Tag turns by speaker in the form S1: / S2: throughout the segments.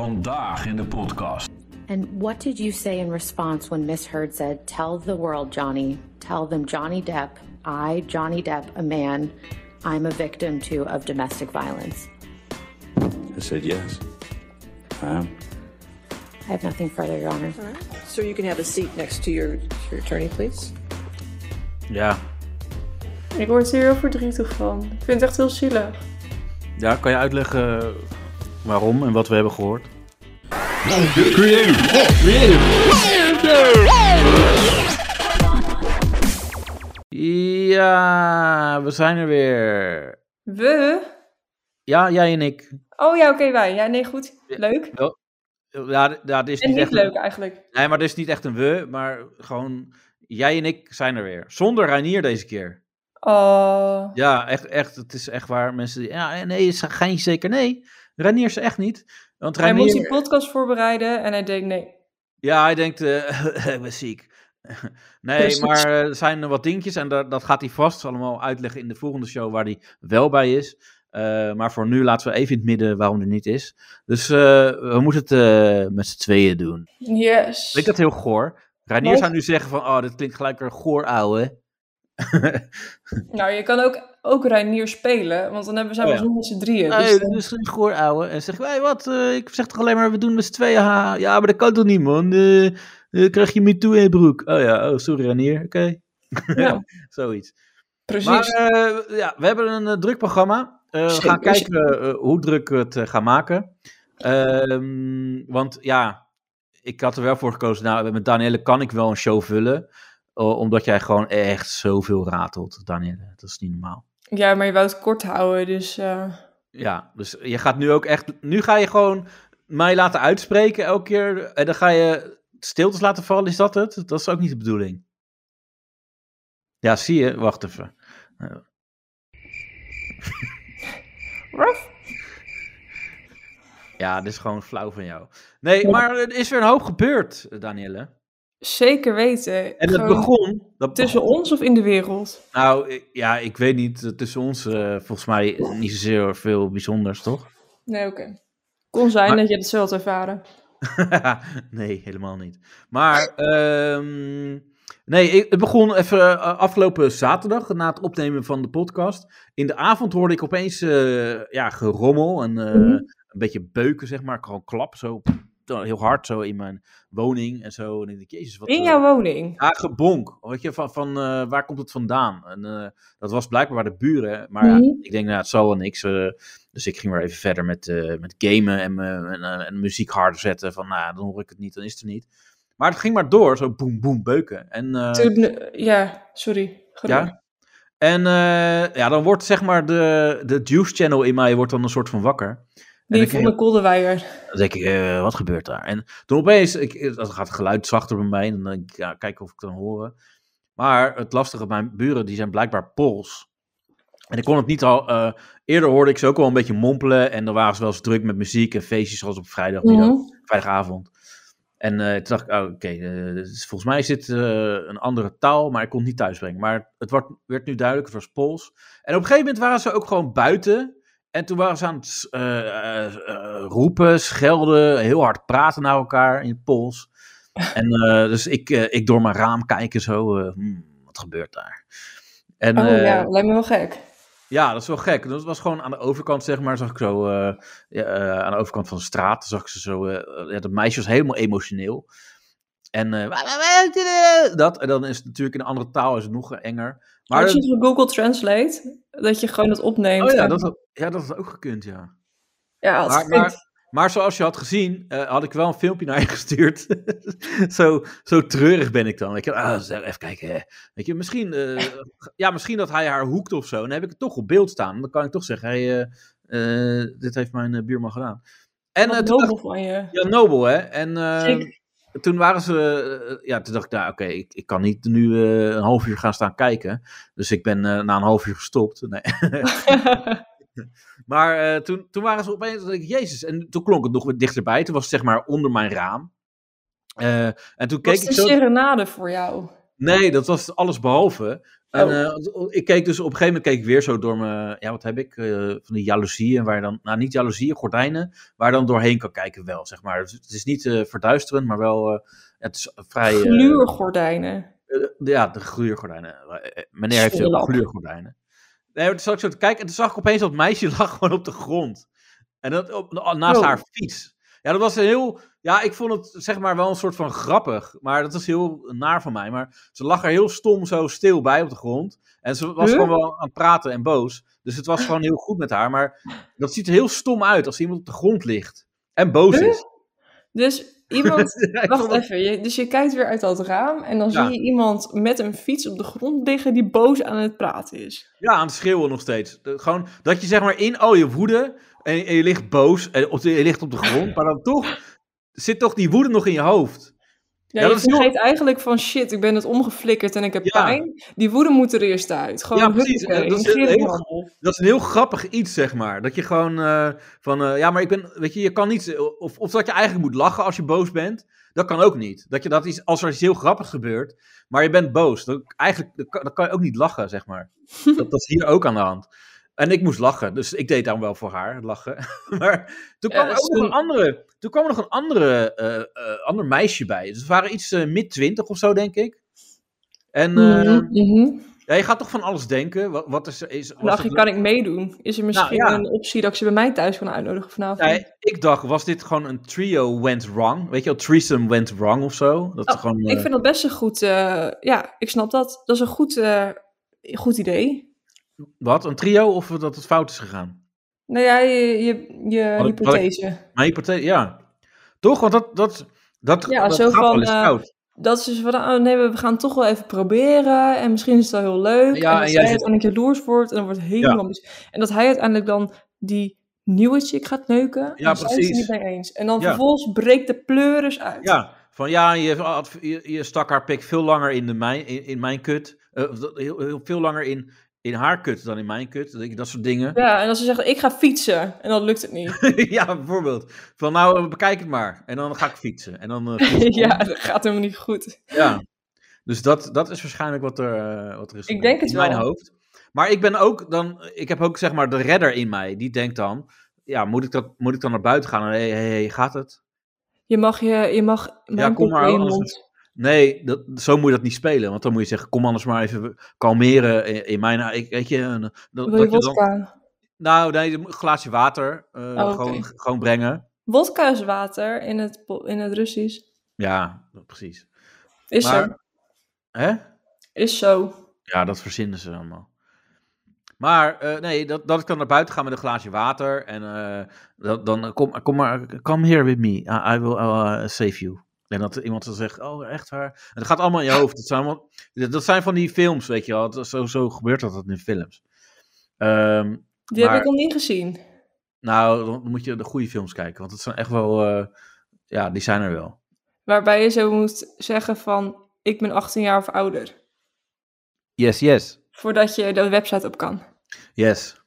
S1: Vandaag in de podcast.
S2: And what did you say in response when Miss Heard said, Tell the world, Johnny, tell them Johnny Depp, I, Johnny Depp, a man, I'm a victim too of domestic violence?
S3: I said, yes, I am.
S2: I have nothing further, Your Honor.
S4: Sir, you can have a seat next to your, your attorney, please.
S5: Ja.
S6: Ik word hier heel verdrietig van. Ik vind het echt heel zielig.
S5: Ja, kan je uitleggen waarom en wat we hebben gehoord? Ja, we zijn er weer.
S6: We?
S5: Ja, jij en ik.
S6: Oh ja, oké, wij. Ja, nee, goed. Leuk.
S5: Wel- Ja, d- ja, dit is
S6: En
S5: niet
S6: niet
S5: echt
S6: leuk
S5: Een,
S6: eigenlijk.
S5: nee, maar dit is niet echt een we, maar gewoon jij en ik zijn er weer. Zonder Reinier deze keer.
S6: Oh.
S5: Ja, echt, echt, het is echt waar. Mensen die, ja, eh, nee, is geen zeker nee. Reinier is er echt niet. Want
S6: Hij moest
S5: Reinier,
S6: die podcast voorbereiden en hij denkt nee.
S5: ja, hij denkt, eh, ik ben ziek. Nee,
S4: Precies.
S5: maar eh, er zijn er wat dingetjes en daar- dat gaat hij vast allemaal uitleggen in de volgende show waar hij wel bij is. Eh, maar voor nu laten we even in het midden waarom hij niet is. Dus eh, we moeten het eh, met z'n tweeën doen.
S6: Yes.
S5: Klinkt dat heel goor? Reinier
S6: Nee.
S5: zou nu zeggen van, oh, dit klinkt gelijk weer goor, ouwe.
S6: Nou, je kan ook, ook Reinier spelen, want dan hebben we zijn
S5: Oh
S6: we
S5: ja.
S6: zo met z'n drieën.
S5: Nee,
S6: dus,
S5: dit
S6: eh,
S5: is geen goor, ouwe. En zeg, hey, wat, eh, ik zeg toch alleen maar, we doen met z'n tweeën, ha. Ja, maar dat kan toch niet, man? Eh, eh, krijg je me toe in je broek. Oh ja, oh, sorry Reinier, oké.
S6: Ja.
S5: Zoiets.
S6: precies.
S5: Maar eh, ja, we hebben een eh, druk programma. Eh, we
S4: Zeker,
S5: gaan kijken eh, hoe druk we het eh, gaan maken. Ehm, want ja, ik had er wel voor gekozen. Nou, met Danielle kan ik wel een show vullen. o- omdat jij gewoon echt zoveel ratelt, Danielle. Dat is niet normaal.
S6: Ja, maar je wou het kort houden, dus... eh,
S5: Ja, dus je gaat nu ook echt. Nu ga je gewoon mij laten uitspreken elke keer. En dan ga je stiltes laten vallen. Is dat het? Dat is ook niet de bedoeling. Ja, zie je. Wacht even. Eh. Ja, dit is gewoon flauw van jou. Nee, maar er is weer een hoop gebeurd, Danielle.
S6: Zeker weten.
S5: En dat
S6: Gewoon
S5: begon. Dat
S6: Tussen ons of in de wereld?
S5: Nou, ik- ja, ik weet niet. Tussen ons, eh, volgens mij, niet zozeer veel bijzonders, toch?
S6: Nee, oké. Kon zijn
S5: Maar-
S6: dat je dat zo had ervaren.
S5: nee, helemaal niet. Maar, ehm, nee, ik- het begon even eh, afgelopen zaterdag, na het opnemen van de podcast. In de avond hoorde ik opeens eh, ja, gerommel en eh,
S6: Mhm.
S5: een beetje beuken, zeg maar. Gewoon klap, zo heel hard, zo in mijn woning en zo. En ik denk, jezus, wat...
S6: In
S5: eh,
S6: jouw woning?
S5: ja, gebonk. Weet je, van, van eh, waar komt het vandaan? En, eh, dat was blijkbaar de buren. Maar ja,
S6: Mhm.
S5: ik denk, nou, het zal wel niks. eh, dus ik ging maar even verder met, eh, met gamen en, me- en, eh, en muziek harder zetten. Van, nou, dan hoor ik het niet, dan is het er niet. Maar het ging maar door, zo boem, boem, beuken. En, eh,
S6: Toen, eh, ja, sorry. Gedoe.
S5: ja. En eh, ja, dan wordt zeg maar de, de Juice Channel in mij wordt dan een soort van wakker. En
S6: Die
S5: dan
S6: van
S5: kijk-
S6: de Kolderweijer.
S5: dan denk ik, eh, wat gebeurt daar? En toen opeens, ik, eh, dat gaat het geluid zachter bij mij. En dan denk ik, ja, kijken of ik het kan horen. Maar het lastige, mijn buren, die zijn blijkbaar Pools. En ik kon het niet al... eh, eerder hoorde ik ze ook al een beetje mompelen. En dan waren ze wel eens druk met muziek en feestjes, zoals op vrijdagmiddag,
S6: Mhm.
S5: vrijdagavond. En eh, toen dacht ik, oh, oké, eh, dus volgens mij is dit eh, een andere taal, maar ik kon het niet thuisbrengen. Maar het wordt, werd nu duidelijk, het was Pools. En op een gegeven moment waren ze ook gewoon buiten. En toen waren ze aan het eh, eh, eh, roepen, schelden, heel hard praten naar elkaar in het Pools. En eh, dus ik, eh, ik door mijn raam kijken zo, eh, hmm, wat gebeurt daar? En,
S6: Oh
S5: eh,
S6: ja, lijkt me wel gek.
S5: ja, dat is wel gek. Dat was gewoon aan de overkant, zeg maar, zag ik zo, eh, ja, eh, aan de overkant van de straat, zag ik ze zo, eh, ja, dat meisje was helemaal emotioneel. En eh, "Wa- wa- wa- wa- wa-" dat, en dan is het natuurlijk in een andere taal is het nog enger. Maar
S6: Als je het op Google Translate, dat je gewoon het opneemt.
S5: oh ja,
S6: en-
S5: dat, had- ja, dat had ook gekund, ja.
S6: ja, dat
S5: Maar,
S6: is gek.
S5: maar, maar zoals je had gezien, eh, had ik wel een filmpje naar je gestuurd. zo, zo treurig ben ik dan. Weet je, ah, zeg, even kijken. hè. Weet je, misschien, eh, ja, misschien dat hij haar hoekt of zo. Dan heb ik het toch op beeld staan. Dan kan ik toch zeggen, hey, eh, eh, dit heeft mijn eh, buurman gedaan. En eh,
S6: Wat
S5: toen dacht
S6: nobel van je.
S5: ja, Nobel, hè? En eh,
S6: Zeker.
S5: toen waren ze. eh, ja, toen dacht ik, nou, oké, ik, ik kan niet nu eh, een half uur gaan staan kijken. Dus ik ben eh, na een half uur gestopt. Nee. maar eh, toen, toen waren ze opeens. dacht ik, Jezus. En toen klonk het nog wat dichterbij. Toen was het zeg maar onder mijn raam. Eh, en toen
S6: Dat
S5: keek
S6: is
S5: ik
S6: een
S5: zo.
S6: serenade voor jou.
S5: Nee, dat was alles behalve. En
S6: Oh.
S5: eh, ik keek dus op een gegeven moment keek ik weer zo door mijn, ja wat heb ik, eh, van die jaloezieën waar je dan, nou niet jaloezieën, gordijnen, waar je dan doorheen kan kijken wel, zeg maar. Dus het is niet eh, verduisterend, maar wel, eh, het is vrij... eh,
S6: Gluurgordijnen.
S5: eh, ja, de gluurgordijnen. Eh, Meneer heeft heel veel
S6: Schilderlap.
S5: gluurgordijnen. Nee, maar toen zat ik zo te kijken en toen zag ik opeens dat meisje lag gewoon op de grond. En dat op, naast
S6: Oh.
S5: haar fiets. Ja, dat was een heel... Ja, ik vond het zeg maar wel een soort van grappig. Maar dat is heel naar van mij. Maar ze lag er heel stom zo stil bij op de grond. En ze was
S6: Huh?
S5: gewoon wel aan het praten en boos. Dus het was gewoon heel goed met haar. Maar dat ziet er heel stom uit als iemand op de grond ligt. En boos
S6: Huh?
S5: is.
S6: Dus iemand...
S5: Ja, ik
S6: Wacht
S5: vond het-
S6: even, je, dus je kijkt weer uit dat raam en dan
S5: Ja.
S6: zie je iemand met een fiets op de grond liggen die boos aan het praten is.
S5: Ja, aan het schreeuwen nog steeds. De- gewoon dat je zeg maar in al je woede en, en je ligt boos en op de, je ligt op de grond, maar dan toch zit toch die woede nog in je hoofd.
S6: Ja,
S5: Ja,
S6: je
S5: dat is heel-
S6: vergeet eigenlijk van shit, ik ben het omgeflikkerd en ik heb
S5: Ja.
S6: pijn. Die woede moet er eerst uit. Gewoon
S5: Ja, precies.
S6: huppakee,
S5: Eh, dat is
S6: negeer
S5: heel-
S6: het
S5: heel
S6: maar.
S5: Dat is een heel grappig iets, zeg maar. Dat je gewoon eh, van, eh, ja, maar ik ben, weet je, je kan niet, of, of dat je eigenlijk moet lachen als je boos bent, dat kan ook niet. Dat je dat is, als er iets heel grappigs gebeurt, maar je bent boos, dan, eigenlijk, dan kan, dan kan je ook niet lachen, zeg maar. Dat, dat is hier ook aan de hand. En ik moest lachen, dus ik deed dan wel voor haar, het lachen. Maar toen kwam
S6: Ja,
S5: er
S6: dat
S5: ook
S6: is
S5: nog
S6: een-
S5: een andere, toen kwam er nog een andere, eh, eh, ander meisje bij. Dus we waren iets eh, mid twintig of zo, denk ik. En eh,
S6: Mhm, mhm.
S5: ja, je gaat toch van alles denken. Wat, wat is, is, was
S6: Dacht
S5: het-
S6: Nou, je, kan ik meedoen? Is er misschien
S5: ja.
S6: een optie dat ik ze bij mij thuis kan uitnodigen vanavond?
S5: Nee, ik dacht, was dit gewoon een trio went wrong? Weet je wel, threesome went wrong of zo? Dat
S6: Oh,
S5: er gewoon, eh,
S6: Ik vind dat best een goed... eh, ja, ik snap dat. Dat is een goed, eh, goed idee.
S5: Wat, een trio of dat het fout is gegaan?
S6: Nou ja, je, je, je
S5: Wat ik- wat ik-
S6: hypothese.
S5: Mijn hypothese, ja. Toch? Want dat, dat, dat,
S6: Ja,
S5: dat
S6: zo
S5: gaat wel
S6: van,
S5: eens
S6: eh,
S5: fout.
S6: Dat ze dus van, oh nee, we we gaan het toch wel even proberen. En misschien is het wel heel leuk.
S5: Ja,
S6: en
S5: en
S6: dat
S5: jij zit-
S6: zij uiteindelijk jaloers wordt. En dan wordt het helemaal mis. En dat hij uiteindelijk dan die nieuwe chick gaat neuken.
S5: Ja,
S6: en zij is het
S5: precies.
S6: niet mee eens. En dan
S5: Ja.
S6: vervolgens breekt de pleuris uit.
S5: Ja, van ja, je, had- je, je stak haar pik veel langer in, de mijn, in, in mijn kut. Eh, of dat- heel, heel veel langer in, in haar kut dan in mijn kut. Dat, dat soort dingen.
S6: Ja, en als ze zegt, ik ga fietsen. En dan lukt het niet.
S5: ja, bijvoorbeeld. Van nou, eh, bekijk het maar. En dan ga ik fietsen. En dan eh, fiets ik
S6: ja,
S5: om.
S6: dat gaat helemaal niet goed.
S5: Ja. Dus dat, dat is waarschijnlijk wat er, eh, wat er is.
S6: Ik
S5: gebeurd
S6: denk het
S5: in mijn
S6: wel.
S5: hoofd. Maar ik ben ook dan, ik heb ook zeg maar de redder in mij. Die denkt dan, ja, moet ik, dat, moet ik dan naar buiten gaan? Hé, hey, hey, hey, gaat het?
S6: Je mag je, je mag mijn
S5: kom
S6: pik
S5: maar,
S6: in je
S5: anders-
S6: mond.
S5: Nee, dat, zo moet je dat niet spelen. Want dan moet je zeggen, kom anders maar even kalmeren in, in mijn... Ik, weet je, en, eh, dat,
S6: Wil je
S5: dat je dan,
S6: wodka? Oh,
S5: nou, nee, een glaasje water eh,
S6: oké.
S5: gewoon, gewoon brengen.
S6: Wodka is water in het, po- in het Russisch.
S5: Ja, precies.
S6: Is
S5: Maar-
S6: zo.
S5: Hè?
S6: Is zo.
S5: Ja, dat verzinnen ze allemaal. Maar eh, nee, dat, dat ik dan naar buiten ga met een glaasje water. En eh, dat, dan eh, kom, kom maar, come here with me. I, I will eh, save you. En dat iemand dan zegt, oh echt waar. En dat gaat allemaal in je hoofd. Dat zijn, allemaal, dat dat zijn van die films, weet je wel. Dat- Zo, zo gebeurt dat in films. Ehm,
S6: Die
S5: Maar-
S6: heb ik al niet gezien.
S5: nou, dan moet je de goede films kijken. Want het zijn echt wel, eh, ja, die zijn er wel.
S6: Waarbij je zo moet zeggen van, ik ben 18 jaar of ouder.
S5: Yes, yes.
S6: Voordat je de website op kan.
S5: Yes.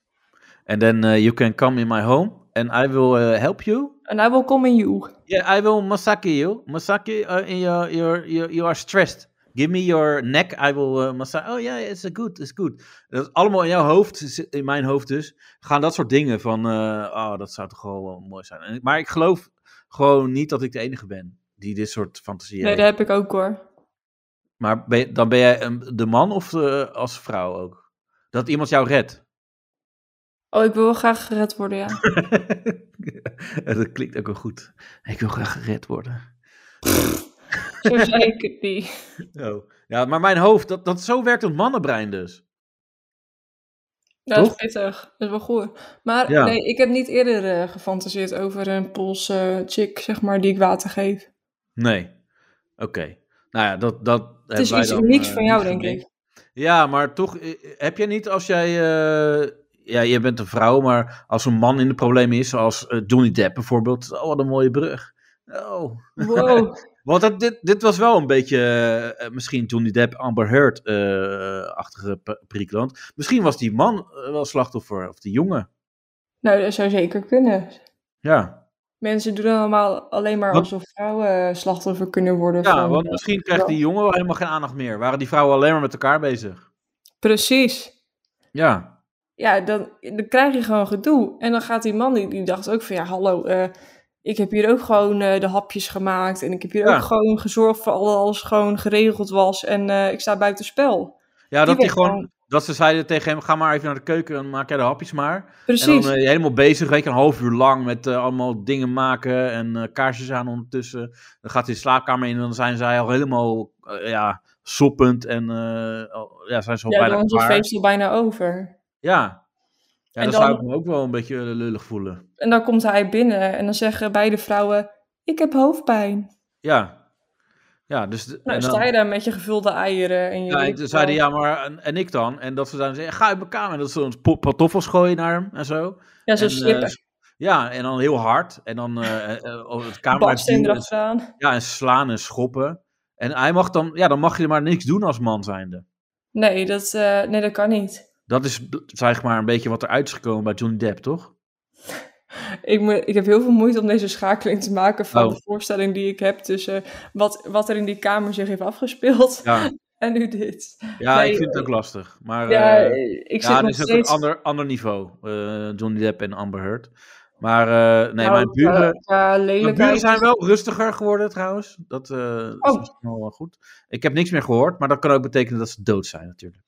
S5: And then eh, you can come in my home. And I will eh, help you.
S6: En I will come in you.
S5: Yeah, I will massage you. Massage uh, in your, your, your, you are stressed. Give me your neck, I will uh, massage. Oh ja, it's a good, it's good. Dat is allemaal in jouw hoofd, zit- in mijn hoofd dus, gaan dat soort dingen van, eh, oh, dat zou toch wel wel mooi zijn. En ik- Maar ik geloof gewoon niet dat ik de enige ben die dit soort fantasieën
S6: Nee,
S5: heeft.
S6: dat heb ik ook hoor.
S5: Maar ben je- dan ben jij een- de man of de- als vrouw ook? Dat iemand jou redt.
S6: Oh, ik wil wel graag gered worden, ja.
S5: dat klinkt ook wel goed. Ik wil graag gered worden.
S6: zo zei ik het niet.
S5: Oh. Ja, maar mijn hoofd, dat, dat, zo werkt het mannenbrein dus.
S6: Ja, dat is
S5: Toch?
S6: pittig. Dat is wel goed. Maar
S5: Ja.
S6: nee, ik heb niet eerder eh, gefantaseerd over een Poolse chick, zeg maar, die ik water geef.
S5: Nee. Oké. Nou ja, dat, dat
S6: Het is iets unieks van jou, denk ik.
S5: eh, Ja, maar toch, eh, heb jij niet als jij... eh, ja, je bent een vrouw, maar als een man in de problemen is, zoals eh, Johnny Depp bijvoorbeeld. Oh, wat een mooie brug. Oh.
S6: Wow.
S5: Want dat, dit, dit was wel een beetje eh, eh, misschien Johnny Depp, Amber Heard-achtige uh, prikland. Misschien was die man eh, wel slachtoffer, of die jongen.
S6: nou, dat zou zeker kunnen.
S5: Ja.
S6: Mensen doen allemaal alleen maar
S5: Wat-
S6: alsof vrouwen eh, slachtoffer kunnen worden.
S5: Ja,
S6: van,
S5: want
S6: eh,
S5: misschien krijgt die jongen wel helemaal geen aandacht meer. Waren die vrouwen alleen maar met elkaar bezig?
S6: Precies.
S5: Ja,
S6: Ja, dan, dan krijg je gewoon gedoe. En dan gaat die man, die, die dacht ook van ja, hallo, eh, ik heb hier ook gewoon eh, de hapjes gemaakt. En ik heb hier
S5: Ja.
S6: ook gewoon gezorgd voor dat alles gewoon geregeld was. En eh, ik sta buiten spel.
S5: ja dat,
S6: werd
S5: die gewoon,
S6: gewoon-
S5: dat ze zeiden tegen hem, ga maar even naar de keuken en maak jij de hapjes maar. En
S6: Precies.
S5: dan eh, helemaal bezig, weet je, een half uur lang met eh, allemaal dingen maken en eh, kaarsjes aan ondertussen. Dan gaat hij de slaapkamer in en dan zijn zij al helemaal, eh, ja, soppend en eh, al- ja, zijn ze al
S6: Ja,
S5: bijna
S6: dan is het
S5: klaar.
S6: feest al bijna over.
S5: Ja. Ja,
S6: En
S5: dan, zou
S6: dan-
S5: ik me ook wel een beetje eh, lullig voelen.
S6: En dan komt hij binnen en dan zeggen beide vrouwen: Ik heb hoofdpijn.
S5: Ja. Ja, dus... de-
S6: Nou,
S5: en dan-
S6: sta je daar met je gevulde eieren en je.
S5: Ja,
S6: weet
S5: en
S6: ik
S5: toen
S6: veel.
S5: zeiden ja, maar en, en ik dan? En dat ze dan zeiden, ga uit mijn kamer. En dat ze ons po- pantoffels gooien naar hem en zo.
S6: Ja, zo
S5: en,
S6: slippen.
S5: eh, ja, en dan heel hard. En dan eh, eh, eh, het kamer
S6: Baksteen
S5: uitduwen.
S6: erachteraan.
S5: Ja, en slaan en schoppen. En hij mag dan, ja, dan mag je maar niks doen als man zijnde.
S6: Nee dat, eh, nee, dat kan niet.
S5: Dat is b- zeg maar een beetje wat eruit is gekomen bij Johnny Depp, toch?
S6: Ik, moet, ik heb heel veel moeite om deze schakeling te maken van
S5: Oh.
S6: de voorstelling die ik heb tussen wat, wat er in die kamer zich heeft afgespeeld
S5: Ja,
S6: en nu dit.
S5: ja
S6: Nee,
S5: ik vind het ook lastig. Maar,
S6: Ja,
S5: eh,
S6: ik zit
S5: ja,
S6: nog
S5: dit is ook een
S6: steeds...
S5: ander, ander niveau. eh, Johnny Depp en Amber Heard. Maar eh, nee, mijn
S6: Nou,
S5: buren,
S6: qua
S5: Mijn
S6: lelijkheid
S5: buren
S6: is-
S5: zijn wel rustiger geworden trouwens. Dat eh, is
S6: Oh.
S5: misschien wel eh, goed. Ik heb niks meer gehoord, maar dat kan ook betekenen dat ze dood zijn natuurlijk.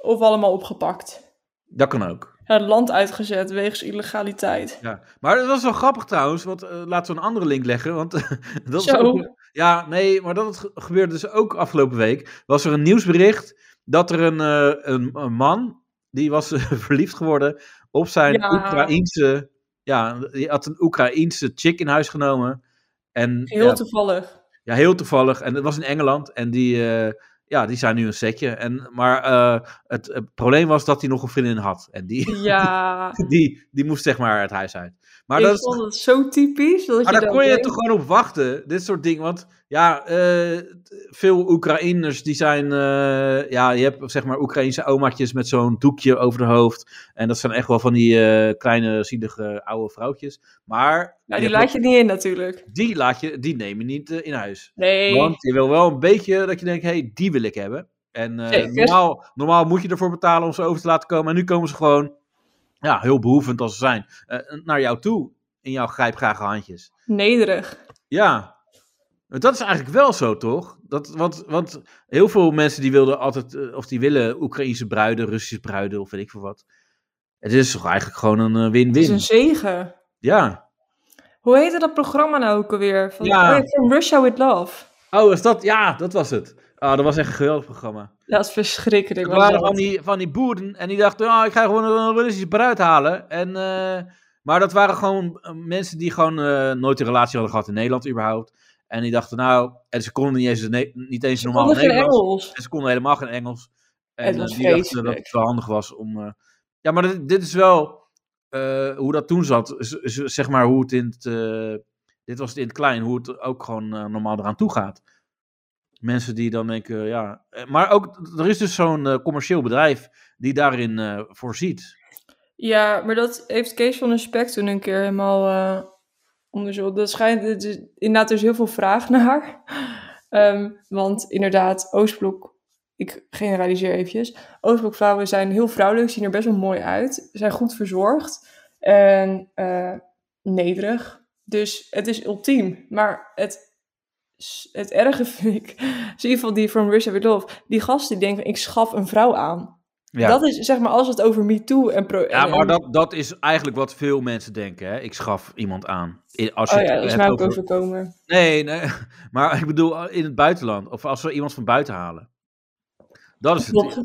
S6: Of allemaal opgepakt.
S5: Dat kan ook.
S6: Het land uitgezet wegens illegaliteit.
S5: Ja. Maar dat was wel grappig trouwens, want eh, laten we een andere link leggen. Want dat is
S6: Zo.
S5: ook- ja, nee, maar dat ge- gebeurde dus ook afgelopen week. Was er een nieuwsbericht dat er een, eh, een, een man, die was eh, verliefd geworden op zijn
S6: Ja.
S5: Oekraïense... Ja, die had een Oekraïense chick in huis genomen. En,
S6: Heel
S5: ja,
S6: toevallig.
S5: Ja, heel toevallig. En het was in Engeland. En die, eh, ja, die zijn nu een setje. En, maar eh, het, eh, probleem was dat hij nog een vriendin had. En die,
S6: Ja,
S5: die, die moest zeg maar het huis uit. Maar,
S6: ik
S5: dat, is-
S6: vond het zo typisch. Dat
S5: maar
S6: je
S5: daar
S6: dan
S5: kon je
S6: denkt,
S5: toch gewoon op wachten. Dit soort dingen. Want ja, eh, veel Oekraïners die zijn... eh, ja, je hebt zeg maar Oekraïnse omaatjes met zo'n doekje over de hoofd. En dat zijn echt wel van die eh, kleine, zielige oude vrouwtjes. Maar
S6: Nou, die laat je niet in natuurlijk.
S5: die, laat je, die neem je niet eh, in huis.
S6: Nee.
S5: Want je wil wel een beetje dat je denkt, hé, hey, die wil ik hebben. En eh,
S6: Zeker.
S5: normaal, normaal moet je ervoor betalen om ze over te laten komen. En nu komen ze gewoon, ja, heel behoevend als ze zijn, eh, naar jou toe. In jouw grijpgrage handjes.
S6: Nederig.
S5: Ja, Want dat is eigenlijk wel zo, toch? Dat, want, want heel veel mensen die wilden altijd, eh, of die willen Oekraïnse bruiden, Russische bruiden, of weet ik veel wat. Het is toch eigenlijk gewoon een eh,
S6: Het is
S5: win-win.
S6: een zegen.
S5: Ja.
S6: Hoe heette dat programma nou ook alweer? Van,
S5: Ja.
S6: oh From Russia With Love.
S5: Oh, is dat? Ja, dat was het. Ah, dat was echt een geweldig programma.
S6: Dat is verschrikkelijk.
S5: Er
S6: was
S5: waren
S6: dat.
S5: van die, van die boeren en die dachten, ah ik ga gewoon een Russische bruid halen. En, eh, maar dat waren gewoon eh, mensen die gewoon eh, nooit een relatie hadden gehad in Nederland überhaupt. En die dachten, nou, en ze konden niet eens, ne- niet eens normaal
S6: Konden geen
S5: Nederlands.
S6: Engels.
S5: En ze konden helemaal geen Engels. En
S6: Het was
S5: eh, die dachten dat
S6: vreselijk.
S5: het wel handig was om... eh, ja, maar dit, dit is wel eh, hoe dat toen zat. Z- z- zeg maar hoe het in het... eh, dit was het in het klein, hoe het ook gewoon eh, normaal eraan toe gaat. Mensen die dan denken, ja... eh, Maar ook, er is dus zo'n eh, commercieel bedrijf die daarin eh, voorziet.
S6: Ja, maar dat heeft Kees van der Spek toen een keer helemaal eh, onderzocht. Dat schijnt, het is- inderdaad, er is heel veel vraag naar. Ehm, want inderdaad, Oostblok, ik generaliseer eventjes. Oostblokvrouwen zijn heel vrouwelijk, zien er best wel mooi uit. Zijn goed verzorgd en eh, nederig. Dus het is ultiem. Maar het, het erge vind ik, is in ieder geval die van Russia With Love, die gast die denkt, ik schaf een vrouw aan.
S5: Ja,
S6: Dat is zeg maar als het over MeToo en... Pro
S5: ja
S6: en-
S5: maar dat, dat is eigenlijk wat veel mensen denken. Hè. Ik schaf iemand aan. I- Als je
S6: Oh
S5: het
S6: ja, dat is
S5: hebt
S6: mij ook
S5: over-
S6: overkomen.
S5: Nee, nee, maar ik bedoel eh, in het buitenland. Of als we iemand van buiten halen. Dat is het.
S6: Klopt.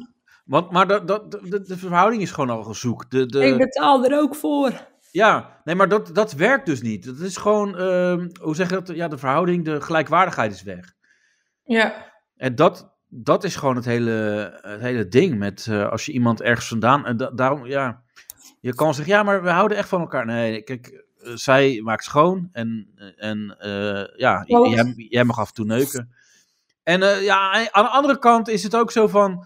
S5: Want, maar dat, dat, de, de verhouding is gewoon al gezoek. De,
S6: Ik
S5: de,
S6: betaal er ook voor.
S5: ja, nee, maar dat, dat werkt dus niet. Dat is gewoon, ehm, hoe zeg je dat? Ja, de verhouding, de gelijkwaardigheid is weg.
S6: Ja.
S5: En dat, dat is gewoon het hele, het hele ding met eh, als je iemand ergens vandaan. En da- daarom, ja, je kan zeggen, ja, maar we houden echt van elkaar. Nee, kijk, eh, zij maakt schoon en, en eh, ja, j-
S6: Klopt.
S5: jij, jij mag af en toe neuken. En eh, ja, en aan de andere kant is het ook zo van,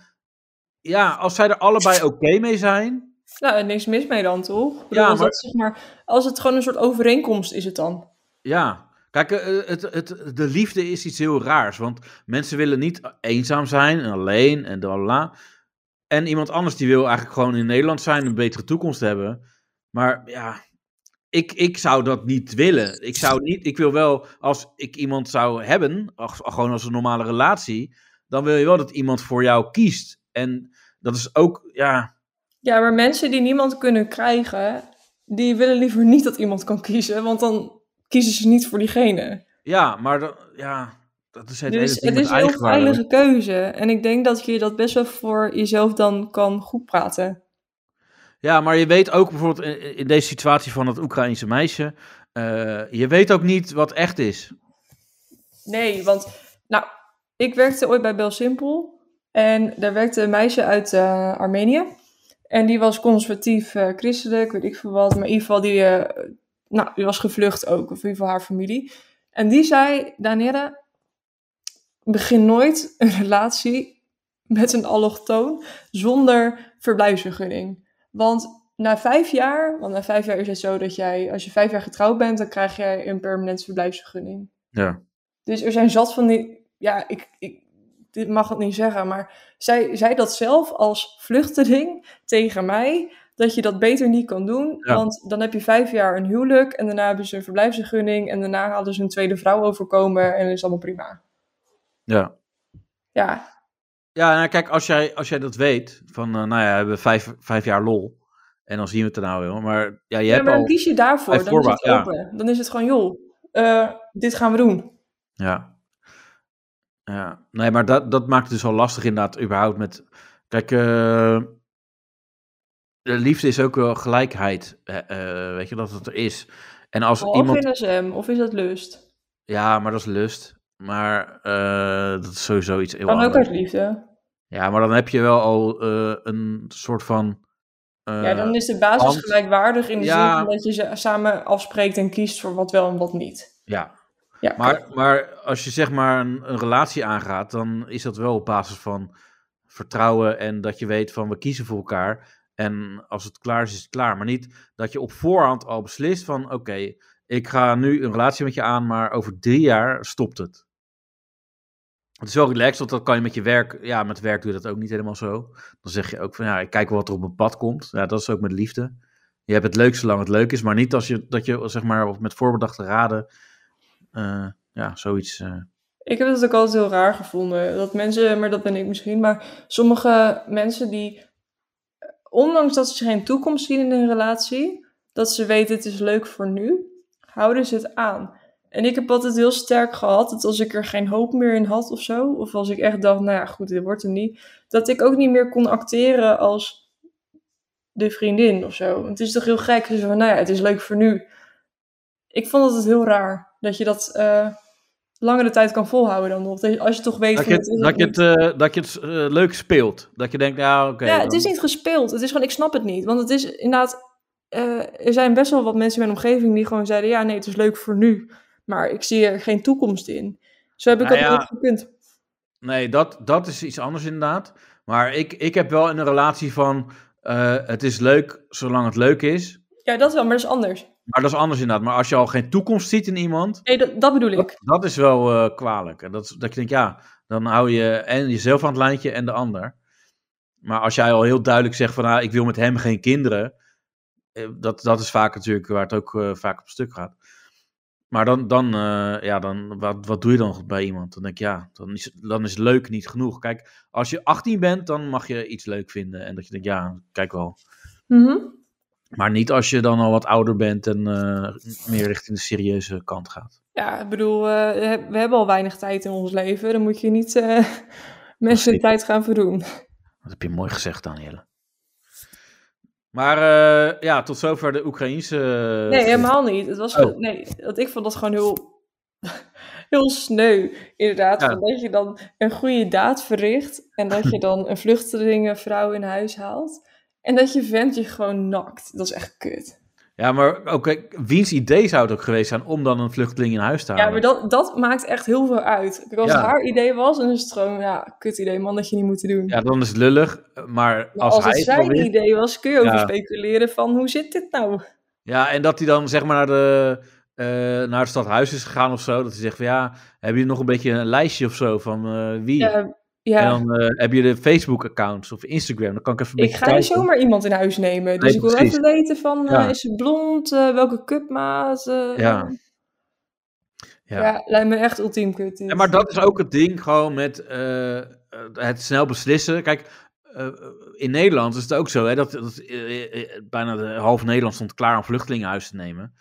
S5: ja, als zij er allebei oké mee zijn.
S6: Nou, en niks mis mee dan, toch? Ik bedoel,
S5: Ja,
S6: als,
S5: maar-
S6: dat, zeg maar, als het gewoon een soort overeenkomst is het dan.
S5: Ja, kijk, eh, het, het, de liefde is iets heel raars. Want mensen willen niet eenzaam zijn en alleen en dan la. En iemand anders die wil eigenlijk gewoon in Nederland zijn, een betere toekomst hebben. Maar ja, ik, ik zou dat niet willen. Ik zou niet, ik wil wel, als ik iemand zou hebben, als- gewoon als een normale relatie, dan wil je wel dat iemand voor jou kiest. En dat is ook, ja,
S6: Ja, maar mensen die niemand kunnen krijgen, die willen liever niet dat iemand kan kiezen, want dan kiezen ze niet voor diegene.
S5: ja, maar dat, ja, dat is het hele
S6: dus
S5: ding
S6: het
S5: met
S6: is een heel
S5: eigenwaarde.
S6: veilige keuze. En ik denk dat je dat best wel voor jezelf dan kan goed praten.
S5: Ja, maar je weet ook bijvoorbeeld in, in deze situatie van het Oekraïense meisje, eh, je weet ook niet wat echt is.
S6: Nee, want nou, ik werkte ooit bij Bel Simpel. En daar werkte een meisje uit eh, Armenië. En die was conservatief eh, christelijk, weet ik veel wat. Maar in ieder geval, die, eh, nou, die was gevlucht ook, of in ieder geval haar familie. En die zei, Danere, begin nooit een relatie met een allochtoon zonder verblijfsvergunning. Want na vijf jaar, want na vijf jaar is het zo dat jij, als je vijf jaar getrouwd bent, dan krijg jij een permanente verblijfsvergunning.
S5: Ja.
S6: Dus er zijn zat van die. Ja, ik, ik dit mag het niet zeggen, maar zij zei dat zelf als vluchteling tegen mij. Dat je dat beter niet kan doen.
S5: Ja.
S6: Want dan heb je vijf jaar een huwelijk. En daarna hebben ze een verblijfsvergunning. En daarna hadden ze een tweede vrouw overkomen. En is allemaal prima.
S5: Ja.
S6: Ja,
S5: Ja, nou, kijk, als jij, als jij dat weet, van eh, nou ja, we hebben vijf, vijf jaar lol. En dan zien we het er nou wel. Maar ja, je
S6: ja
S5: hebt
S6: maar dan
S5: al.
S6: kies je daarvoor.
S5: Hij
S6: Dan is het
S5: voorwaar- ja.
S6: open. Dan is het gewoon, joh, eh, dit gaan we doen.
S5: Ja. ja. Nee, maar dat, dat maakt het dus al lastig inderdaad, überhaupt met... Kijk, eh, de liefde is ook wel gelijkheid, eh, eh, weet je, dat het er is. En als
S6: Of
S5: iemand...
S6: NSM, of is dat lust?
S5: Ja, maar dat is lust. Maar eh, dat is sowieso iets heel
S6: Kan ook
S5: anders.
S6: uit liefde.
S5: Ja, maar dan heb je wel al eh, een soort van... eh,
S6: ja, dan is de basis
S5: want-
S6: gelijkwaardig in de
S5: Ja.
S6: zin van dat je ze- samen afspreekt en kiest voor wat wel en wat niet.
S5: ja,
S6: Ja,
S5: Maar, maar als je zeg maar een, een relatie aangaat, dan is dat wel op basis van vertrouwen en dat je weet van we kiezen voor elkaar. En als het klaar is, is het klaar. Maar niet dat je op voorhand al beslist van oké, ik ga nu een relatie met je aan, maar over drie jaar stopt het. Het is wel relaxed, want dat kan je met je werk. Ja, met werk doe je dat ook niet helemaal zo. Dan zeg je ook van ja, ik kijk wel wat er op mijn pad komt. Ja, dat is ook met liefde. Je hebt het leuk zolang het leuk is, maar niet als je, dat je zeg maar op- met voorbedachte raden eh, ja, zoiets. eh.
S6: Ik heb het dus ook altijd heel raar gevonden. Dat mensen, maar dat ben ik misschien, maar sommige mensen die, eh, ondanks dat ze geen toekomst zien in hun relatie, dat ze weten het is leuk voor nu, houden ze het aan. En ik heb altijd heel sterk gehad dat als ik er geen hoop meer in had of zo, of als ik echt dacht, nou ja, goed, dit wordt hem niet, dat ik ook niet meer kon acteren als de vriendin of zo. Want het is toch heel gek, dus van, nou ja, het is leuk voor nu. Ik vond het heel raar dat je dat. eh, langere tijd kan volhouden dan nog. Dat- Als je toch weet
S5: dat,
S6: van,
S5: je,
S6: dit is
S5: het- dat, je
S6: niet.
S5: het, eh, dat je het eh, leuk speelt. Dat je denkt, ja, oké.
S6: ja,
S5: dan-
S6: het is niet gespeeld. Het is gewoon, ik snap het niet. Want het is inderdaad, eh, er zijn best wel wat mensen in mijn omgeving die gewoon zeiden, ja, nee, het is leuk voor nu, maar ik zie er geen toekomst in. Zo heb ik
S5: Nou
S6: dat
S5: ja.
S6: nooit gekund.
S5: Nee, dat, dat is iets anders inderdaad. Maar ik, ik heb wel in een relatie van. eh, het is leuk zolang het leuk is.
S6: Ja, dat wel, maar dat is anders.
S5: Maar dat is anders inderdaad. Maar als je al geen toekomst ziet in iemand.
S6: Nee, dat, dat bedoel ik.
S5: Dat is wel eh, kwalijk. En dat, is- dat je denkt, ja, dan hou je en jezelf aan het lijntje en de ander. Maar als jij al heel duidelijk zegt van, ah, ik wil met hem geen kinderen. eh, Dat, dat is vaak natuurlijk waar het ook eh, vaak op stuk gaat. Maar dan, dan, eh, ja, dan wat, wat doe je dan bij iemand? Dan denk ik, ja, dan is, dan is leuk niet genoeg. Kijk, als je 18 bent, dan mag je iets leuk vinden. En dat je denkt, ja, kijk wel. Oh.
S6: Mhm.
S5: Maar niet als je dan al wat ouder bent en eh, meer richting de serieuze kant gaat.
S6: Ja, ik bedoel, eh, we hebben al weinig tijd in ons leven. Dan moet je niet eh, mensen de
S5: Precies.
S6: tijd gaan verdoen.
S5: Dat heb je mooi gezegd, Danielle. Maar eh, ja, tot zover de Oekraïense. eh,
S6: Nee, helemaal niet. Het was
S5: Oh.
S6: gewoon- nee, want ik vond dat gewoon heel, heel sneu, inderdaad.
S5: Ja.
S6: van Dat je dan een goede daad verricht en dat je dan een vluchtelingenvrouw in huis haalt. En dat je vent je gewoon nakt. Dat is echt kut.
S5: Ja, maar oké, wiens idee zou het ook geweest zijn om dan een vluchteling in huis te
S6: Ja,
S5: halen?
S6: maar dat, dat maakt echt heel veel uit. Kijk, als
S5: Ah, Ja.
S6: het haar idee was, dan is het gewoon, ja, kut idee, man, dat je niet moeten doen.
S5: Ja, dan is het lullig. Maar
S6: Maar
S5: als,
S6: als,
S5: hij
S6: het
S5: het wel
S6: zijn
S5: wist-
S6: idee was, kun je over
S5: Ja.
S6: speculeren van, hoe zit dit nou?
S5: Ja, en dat hij dan zeg maar naar, de, eh, naar het stadhuis is gegaan of zo. Dat hij zegt van ja, hebben jullie nog een beetje een lijstje of zo van eh, wie?
S6: Ja, Ja.
S5: En dan eh, heb je de Facebook-accounts of Instagram. Dan kan ik even een
S6: Ik
S5: beetje
S6: ga niet
S5: kijken.
S6: zomaar iemand in huis nemen. Dus
S5: Nee,
S6: ik wil
S5: precies.
S6: even weten van, eh,
S5: Ja.
S6: is ze blond? eh, welke cupmaat? eh,
S5: Ja.
S6: ja.
S5: Ja.
S6: lijkt me echt ultiem kut. dit.
S5: Ja, maar dat is ook het ding gewoon met eh, eh, het snel beslissen. Kijk, eh, in Nederland is het ook zo hè, dat, dat eh, eh, bijna de half Nederland stond klaar om vluchtelingenhuis te nemen.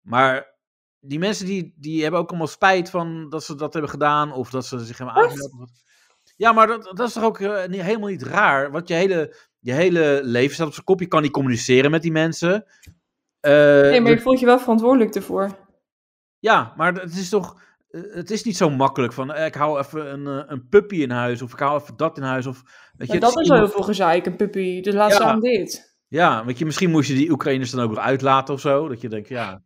S5: Maar die mensen die, die hebben ook allemaal spijt van dat ze dat hebben gedaan of dat ze zich hebben
S6: Wat?
S5: aangemeld. of wat. Ja, maar dat, dat is toch ook eh, niet, helemaal niet raar? Want je hele, je hele leven staat op zijn kop. Je kan niet communiceren met die mensen. Eh,
S6: Nee, maar
S5: de-
S6: je voelt je wel verantwoordelijk ervoor.
S5: ja, maar het is toch. eh, Het is niet zo makkelijk van eh, ik hou even een, eh, een puppy in huis of ik hou even dat in huis. Of, weet
S6: Maar
S5: je,
S6: dat
S5: het
S6: is wel heel
S5: iemand-
S6: veel gezeik, een puppy. Dus laat ze
S5: Ja.
S6: aan dit.
S5: Ja, weet je, misschien moest je die Oekraïners dan ook nog uitlaten of zo. Dat je denkt, ja.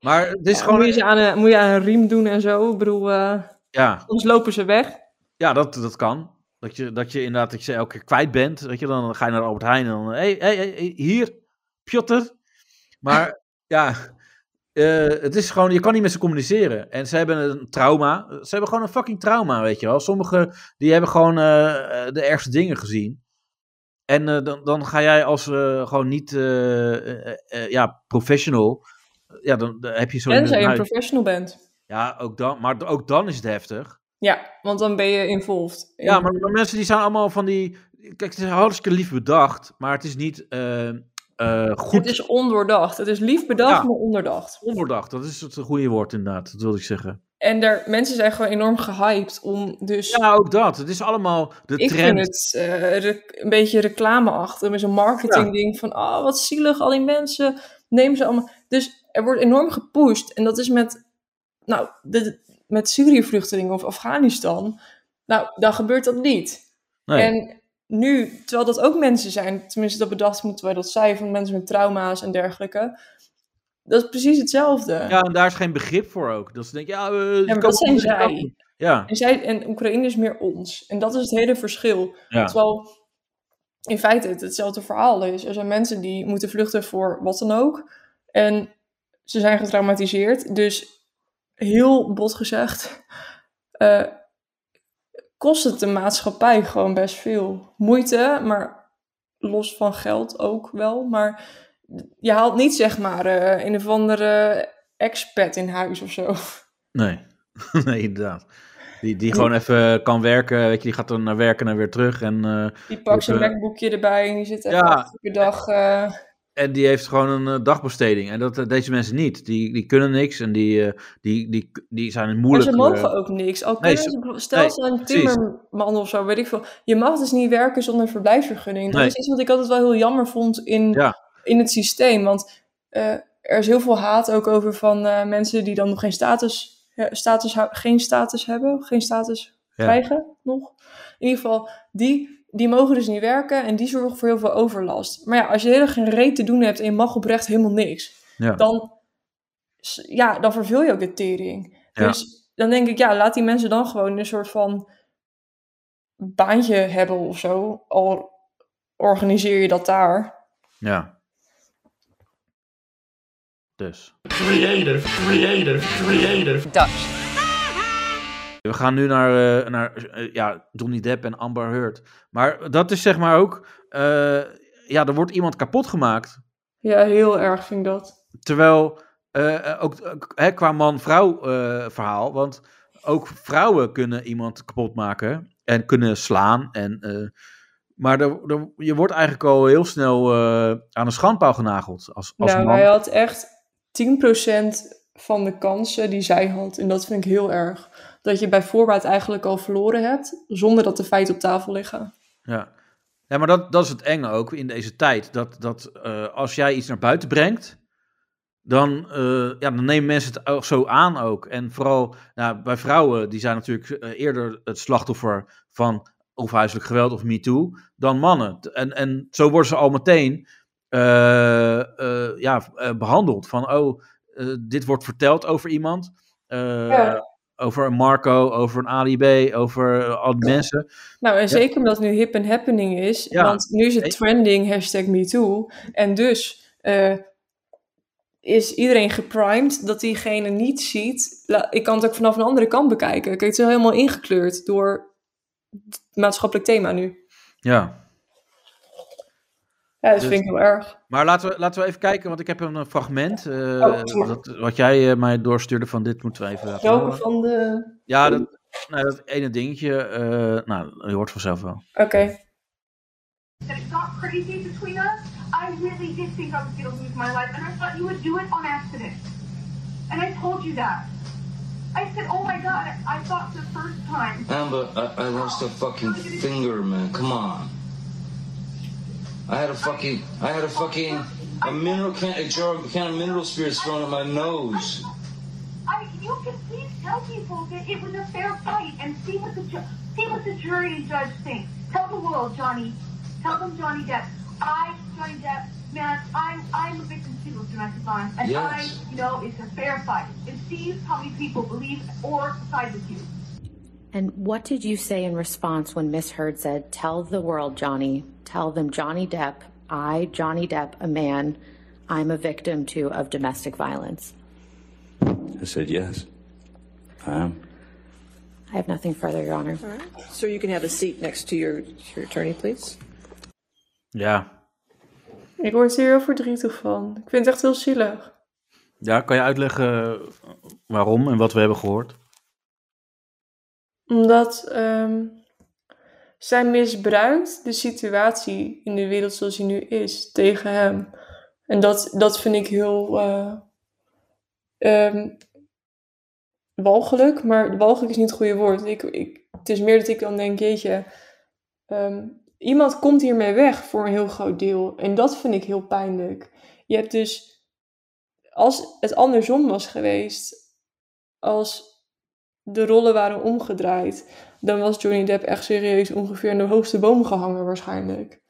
S5: Maar het is
S6: Ja,
S5: gewoon.
S6: moet, je ze aan een, moet je aan een riem doen en zo. Ik bedoel, eh,
S5: Ja,
S6: soms lopen ze weg.
S5: ja dat, dat kan. Dat je, dat je inderdaad dat je ze elke keer kwijt bent. Weet je, dan ga je naar Albert Heijn en dan. Hé, hey, hey, hey, hier, Pjotter. Maar ja, eh, het is gewoon. Je kan niet met ze communiceren. En ze hebben een trauma. Ze hebben gewoon een fucking trauma, weet je wel. Sommigen die hebben gewoon eh, eh, de ergste dingen gezien. En eh, dan, dan ga jij als eh, gewoon niet eh, eh, eh, ja, professional. Ja, dan, dan heb je zo'n.
S6: Tenzij je een
S5: huis.
S6: professional bent.
S5: Ja, ook dan. Maar ook dan is het heftig.
S6: Ja, want dan ben je involved.
S5: Ja, maar, maar mensen die zijn allemaal van die. Kijk, het is hartstikke lief bedacht, maar het is niet eh, eh,
S6: Het
S5: goed
S6: is ondoordacht. Het is lief bedacht,
S5: Ja.
S6: maar ondoordacht.
S5: ondoordacht. Dat is het goede woord, inderdaad. Dat wilde ik zeggen.
S6: En daar, mensen zijn gewoon enorm gehyped om dus...
S5: Ja, ook dat. Het is allemaal de
S6: ik
S5: trend.
S6: vind het eh, rec- een beetje reclameachtig. Met zo'n marketingding van... ah wat zielig, al die mensen. Neem ze allemaal... Dus er wordt enorm gepusht. En dat is met... Nou, de, met Syrië-vluchtelingen of Afghanistan. Nou, dan gebeurt dat niet.
S5: Nee.
S6: En nu, terwijl dat ook mensen zijn, tenminste dat bedacht moeten wij dat zij, van mensen met trauma's en dergelijke, dat is precies hetzelfde.
S5: Ja, en daar is geen begrip voor ook. Dat ze denken, ja, eh, ze
S6: maar
S5: komen
S6: dat zijn
S5: niet aan.
S6: zij.
S5: Ja,
S6: En, zij, en Oekraïne is meer ons. En dat is het hele verschil.
S5: ja.
S6: Terwijl in feite het hetzelfde verhaal is. Er zijn mensen die moeten vluchten voor wat dan ook. En ze zijn getraumatiseerd. Dus heel bot gezegd, eh, kost het de maatschappij gewoon best veel moeite. Maar los van geld ook wel. Maar je haalt niet zeg maar eh, een of andere expat in huis of zo.
S5: Nee. nee, inderdaad. Die, die gewoon even kan werken. Weet je, die gaat dan naar werken en weer terug. En, eh,
S6: Die pakt zijn
S5: Dus, eh,
S6: MacBookje erbij en die zit
S5: ja.
S6: echt elke dag... eh,
S5: En die heeft gewoon een eh, dagbesteding. En dat, eh, deze mensen niet. Die, die kunnen niks en die, eh, die, die, die zijn
S6: Maar
S5: moeilijk.
S6: ze
S5: eh,
S6: mogen ook niks. Al
S5: Nee,
S6: kunnen ze, stel
S5: nee,
S6: ze een
S5: precies.
S6: timmerman of zo, weet ik veel. Je mag dus niet werken zonder verblijfsvergunning. Dat
S5: Nee.
S6: is iets wat ik altijd wel heel jammer vond in,
S5: Ja.
S6: in het systeem. Want eh, er is heel veel haat ook over van eh, mensen die dan nog geen status, eh, status, hou- geen status hebben. Geen status
S5: Ja.
S6: krijgen nog. In ieder geval, die, die mogen dus niet werken en die zorgen voor heel veel overlast. Maar ja, als je helemaal geen reet te doen hebt en je mag oprecht helemaal niks
S5: ja.
S6: dan, s- ja, dan verveel je ook de tering.
S5: Ja.
S6: Dus dan denk ik, ja, laat die mensen dan gewoon een soort van baantje hebben of zo. Al organiseer je dat daar.
S5: Ja. Dus. We gaan nu naar, eh, naar eh, ja, Johnny Depp en Amber Heard. Maar dat is zeg maar ook... eh, ja, er wordt iemand kapot gemaakt.
S6: Ja, heel erg vind ik dat.
S5: Terwijl, eh, eh, ook ook, hè, qua man-vrouw eh, verhaal... Want ook vrouwen kunnen iemand kapot maken. En kunnen slaan. En, eh, maar er, er- je wordt eigenlijk al heel snel eh, aan een schandpaal genageld. Als, als
S6: nou,
S5: man.
S6: hij had echt 10% van de kansen die zij had. En dat vind ik heel erg. Dat je bij voorbaat eigenlijk al verloren hebt, zonder dat de feiten op tafel liggen.
S5: Ja, ja maar dat, dat is het enge ook in deze tijd. Dat, dat eh, als jij iets naar buiten brengt, dan, eh, ja, dan nemen mensen het ook zo aan ook. En vooral nou, bij vrouwen, die zijn natuurlijk eh, eerder het slachtoffer van of huiselijk geweld of MeToo, dan mannen. T- En, en zo worden ze al meteen eh, eh, ja, eh, behandeld. Van, oh, eh, dit wordt verteld over iemand. eh,
S6: Ja.
S5: Over een Marco, over een Ali B, over eh, al die mensen.
S6: Nou, en zeker omdat het nu hip en happening is.
S5: Ja.
S6: Want nu is
S5: Ik-
S6: het trending, hashtag MeToo. En dus eh, is iedereen geprimed dat diegene niet ziet. La- ik kan het ook vanaf een andere kant bekijken. Kijk, het is helemaal ingekleurd door maatschappelijk thema nu.
S5: Ja.
S6: Ja, dat
S5: Dus-
S6: vind ik heel erg.
S5: Maar laten we, laten we even kijken, want ik heb een eh, fragment. eh,
S6: Oh, sorry.
S5: dat, wat jij eh, mij doorstuurde van dit moeten we even laten
S6: Welke
S5: horen.
S6: van de...
S5: Ja, dat, nou, dat ene dingetje. eh, nou, je hoort vanzelf wel.
S6: Oké.
S7: that it got crazy between us, I really did think I was going to lose my life, and I thought you would do it on accident. And I told you that. I said, oh my god, I thought the first time.
S8: Amber, I, I lost a fucking finger, man. Come on. I had a fucking, I had a fucking, a mineral can, a jar, a can of mineral spirits thrown at my nose.
S7: I, you can please tell people that it was a fair fight and see what the ju- see what the jury and judge think. Tell the world, Johnny. Tell them, Johnny Depp. I, Johnny Depp, man, I'm I'm a victim too of domestic violence, and
S8: Yes.
S7: I, you know, it's a fair fight. And see how many people believe or side with you.
S2: And what did you say in response when Miss Heard said, Tell the world, Johnny, tell them Johnny Depp, I, Johnny Depp, a man, I'm a victim too of domestic violence?
S3: I said, yes, I am.
S2: I have nothing further, Your Honor.
S4: Sir, you can have a seat next to your, your attorney, please.
S5: Ja.
S6: Ik word hier heel verdrietig van. Ik vind het echt heel zielig.
S5: ja, kan je uitleggen eh, waarom en wat we hebben gehoord?
S6: Omdat ehm, zij misbruikt de situatie in de wereld zoals die nu is tegen hem. En dat, dat vind ik heel eh, ehm, walgelijk, maar walgelijk is niet het goede woord. Ik, ik, het is meer dat ik dan denk, jeetje, ehm, iemand komt hiermee weg voor een heel groot deel. En dat vind ik heel pijnlijk. Je hebt dus, als het andersom was geweest, als de rollen waren omgedraaid, dan was Johnny Depp echt serieus ongeveer in de hoogste boom gehangen waarschijnlijk.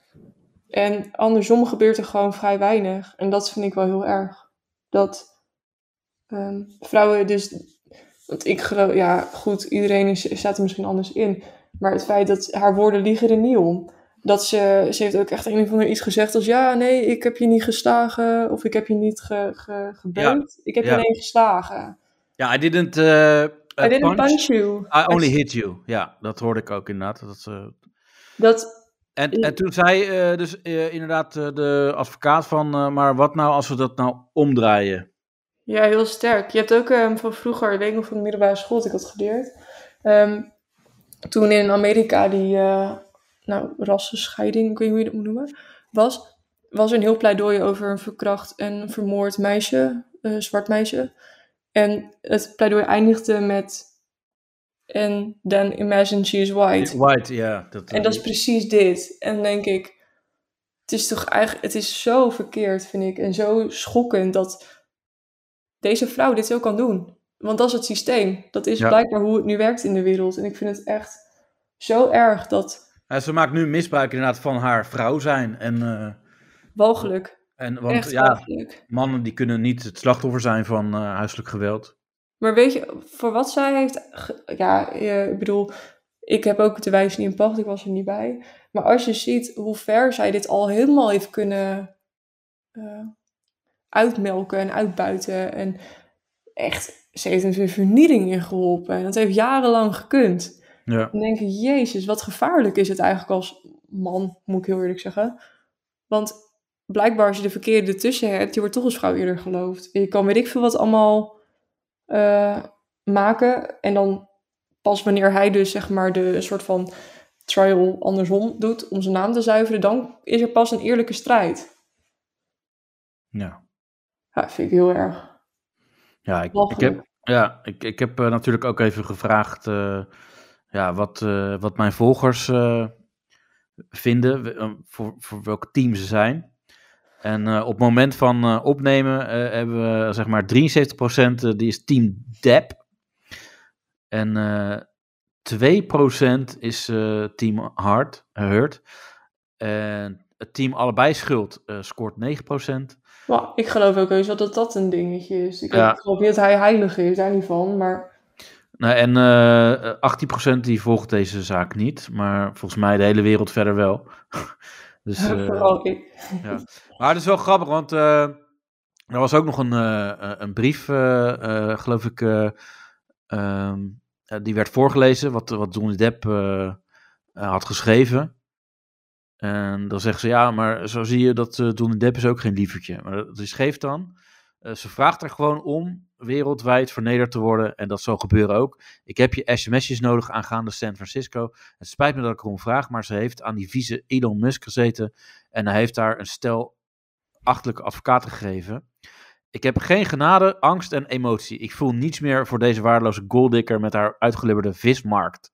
S6: En andersom gebeurt er gewoon vrij weinig. En dat vind ik wel heel erg. Dat ehm, vrouwen dus... Want ik geloof... Ja, goed, iedereen is, staat er misschien anders in. Maar het feit dat haar woorden liegen er niet om. Dat ze... Ze heeft ook echt een of ander iets gezegd als... Ja, nee, ik heb je niet geslagen. Of ik heb je niet ge, ge, gebeukt. ik heb
S5: ja.
S6: je alleen geslagen.
S5: Ja, I didn't, eh, eh,
S6: I didn't
S5: punch.
S6: punch you.
S5: I only hit you. Ja, dat hoorde ik ook inderdaad. Dat, ze-
S6: Dat,
S5: en, en toen zei eh, dus eh, inderdaad eh, de advocaat van, eh, maar wat nou als we dat nou omdraaien?
S6: Ja, heel sterk. Je hebt ook ehm, van vroeger, ik weet nog van de middelbare school dat ik had geleerd. Ehm, toen in Amerika die eh, nou, rassenscheiding, ik weet niet hoe je dat moet noemen, was, was er een heel pleidooi over een verkracht en vermoord meisje, eh, zwart meisje. En het pleidooi eindigde met And then imagine she is white.
S5: White, ja. Dat, eh,
S6: En dat is precies dit. En dan denk ik, het is toch eigenlijk, het is zo verkeerd, vind ik. En zo schokkend dat deze vrouw dit zo kan doen. Want dat is het systeem. Dat is
S5: Ja.
S6: blijkbaar hoe het nu werkt in de wereld. En ik vind het echt zo erg dat
S5: Ja, ze maakt nu misbruik inderdaad van haar vrouw zijn. En, eh,
S6: walgelijk.
S5: en, want
S6: echt
S5: ja,
S6: walgelijk.
S5: mannen die kunnen niet het slachtoffer zijn van eh, huiselijk geweld.
S6: Maar weet je, voor wat zij heeft. ge- Ja, eh, ik bedoel, ik heb ook de wijs niet in pacht, ik was er niet bij. Maar als je ziet hoe ver zij dit al helemaal heeft kunnen eh, uitmelken en uitbuiten. En echt, ze heeft een vernieling in geholpen. En dat heeft jarenlang gekund.
S5: Ja.
S6: Dan denk ik, jezus, wat gevaarlijk is het eigenlijk als man, moet ik heel eerlijk zeggen. Want blijkbaar als je de verkeerde ertussen hebt, die wordt toch als vrouw eerder geloofd. En je kan weet ik veel wat allemaal eh, maken. En dan pas wanneer hij dus zeg maar de een soort van trial andersom doet om zijn naam te zuiveren, dan is er pas een eerlijke strijd.
S5: Ja,
S6: Ja, vind ik heel erg.
S5: ja, ik, ik,
S6: Walgelijk.
S5: heb, ja, ik, ik heb eh, natuurlijk ook even gevraagd eh, ja, wat, eh, wat mijn volgers eh, vinden, w- eh, voor, voor welk team ze zijn. En eh, op het moment van eh, opnemen eh, hebben we zeg maar 73% eh, die is team Dep. En eh 2% is eh, team Hard, eh, Hurt. En het team allebei schuld eh, scoort 9%.
S6: Maar ik geloof ook eens wel dat dat een dingetje is. Ik
S5: Ja.
S6: geloof niet dat hij heilig is, daar niet van. Maar
S5: Nou, en eh 18% die volgt deze zaak niet, maar volgens mij de hele wereld verder wel. dus, eh,
S6: vooral ik.
S5: maar het is wel grappig, want eh, er was ook nog een, eh, eh, een brief, eh, eh, geloof ik, eh, ehm, eh, die werd voorgelezen, wat, wat Johnny Depp eh, eh, had geschreven. En dan zegt ze, ja, maar zo zie je dat eh Johnny Depp is ook geen lievertje. Maar dat is geef dan. Eh, ze vraagt er gewoon om wereldwijd vernederd te worden. En dat zal gebeuren ook. Ik heb je sms'jes nodig aangaande San Francisco. Het spijt me dat ik erom vraag, maar ze heeft aan die vieze Elon Musk gezeten. En hij heeft daar een stel achterlijke advocaten gegeven. Ik heb geen genade, angst en emotie. Ik voel niets meer voor deze waardeloze goaldikker met haar uitgelibberde vismarkt.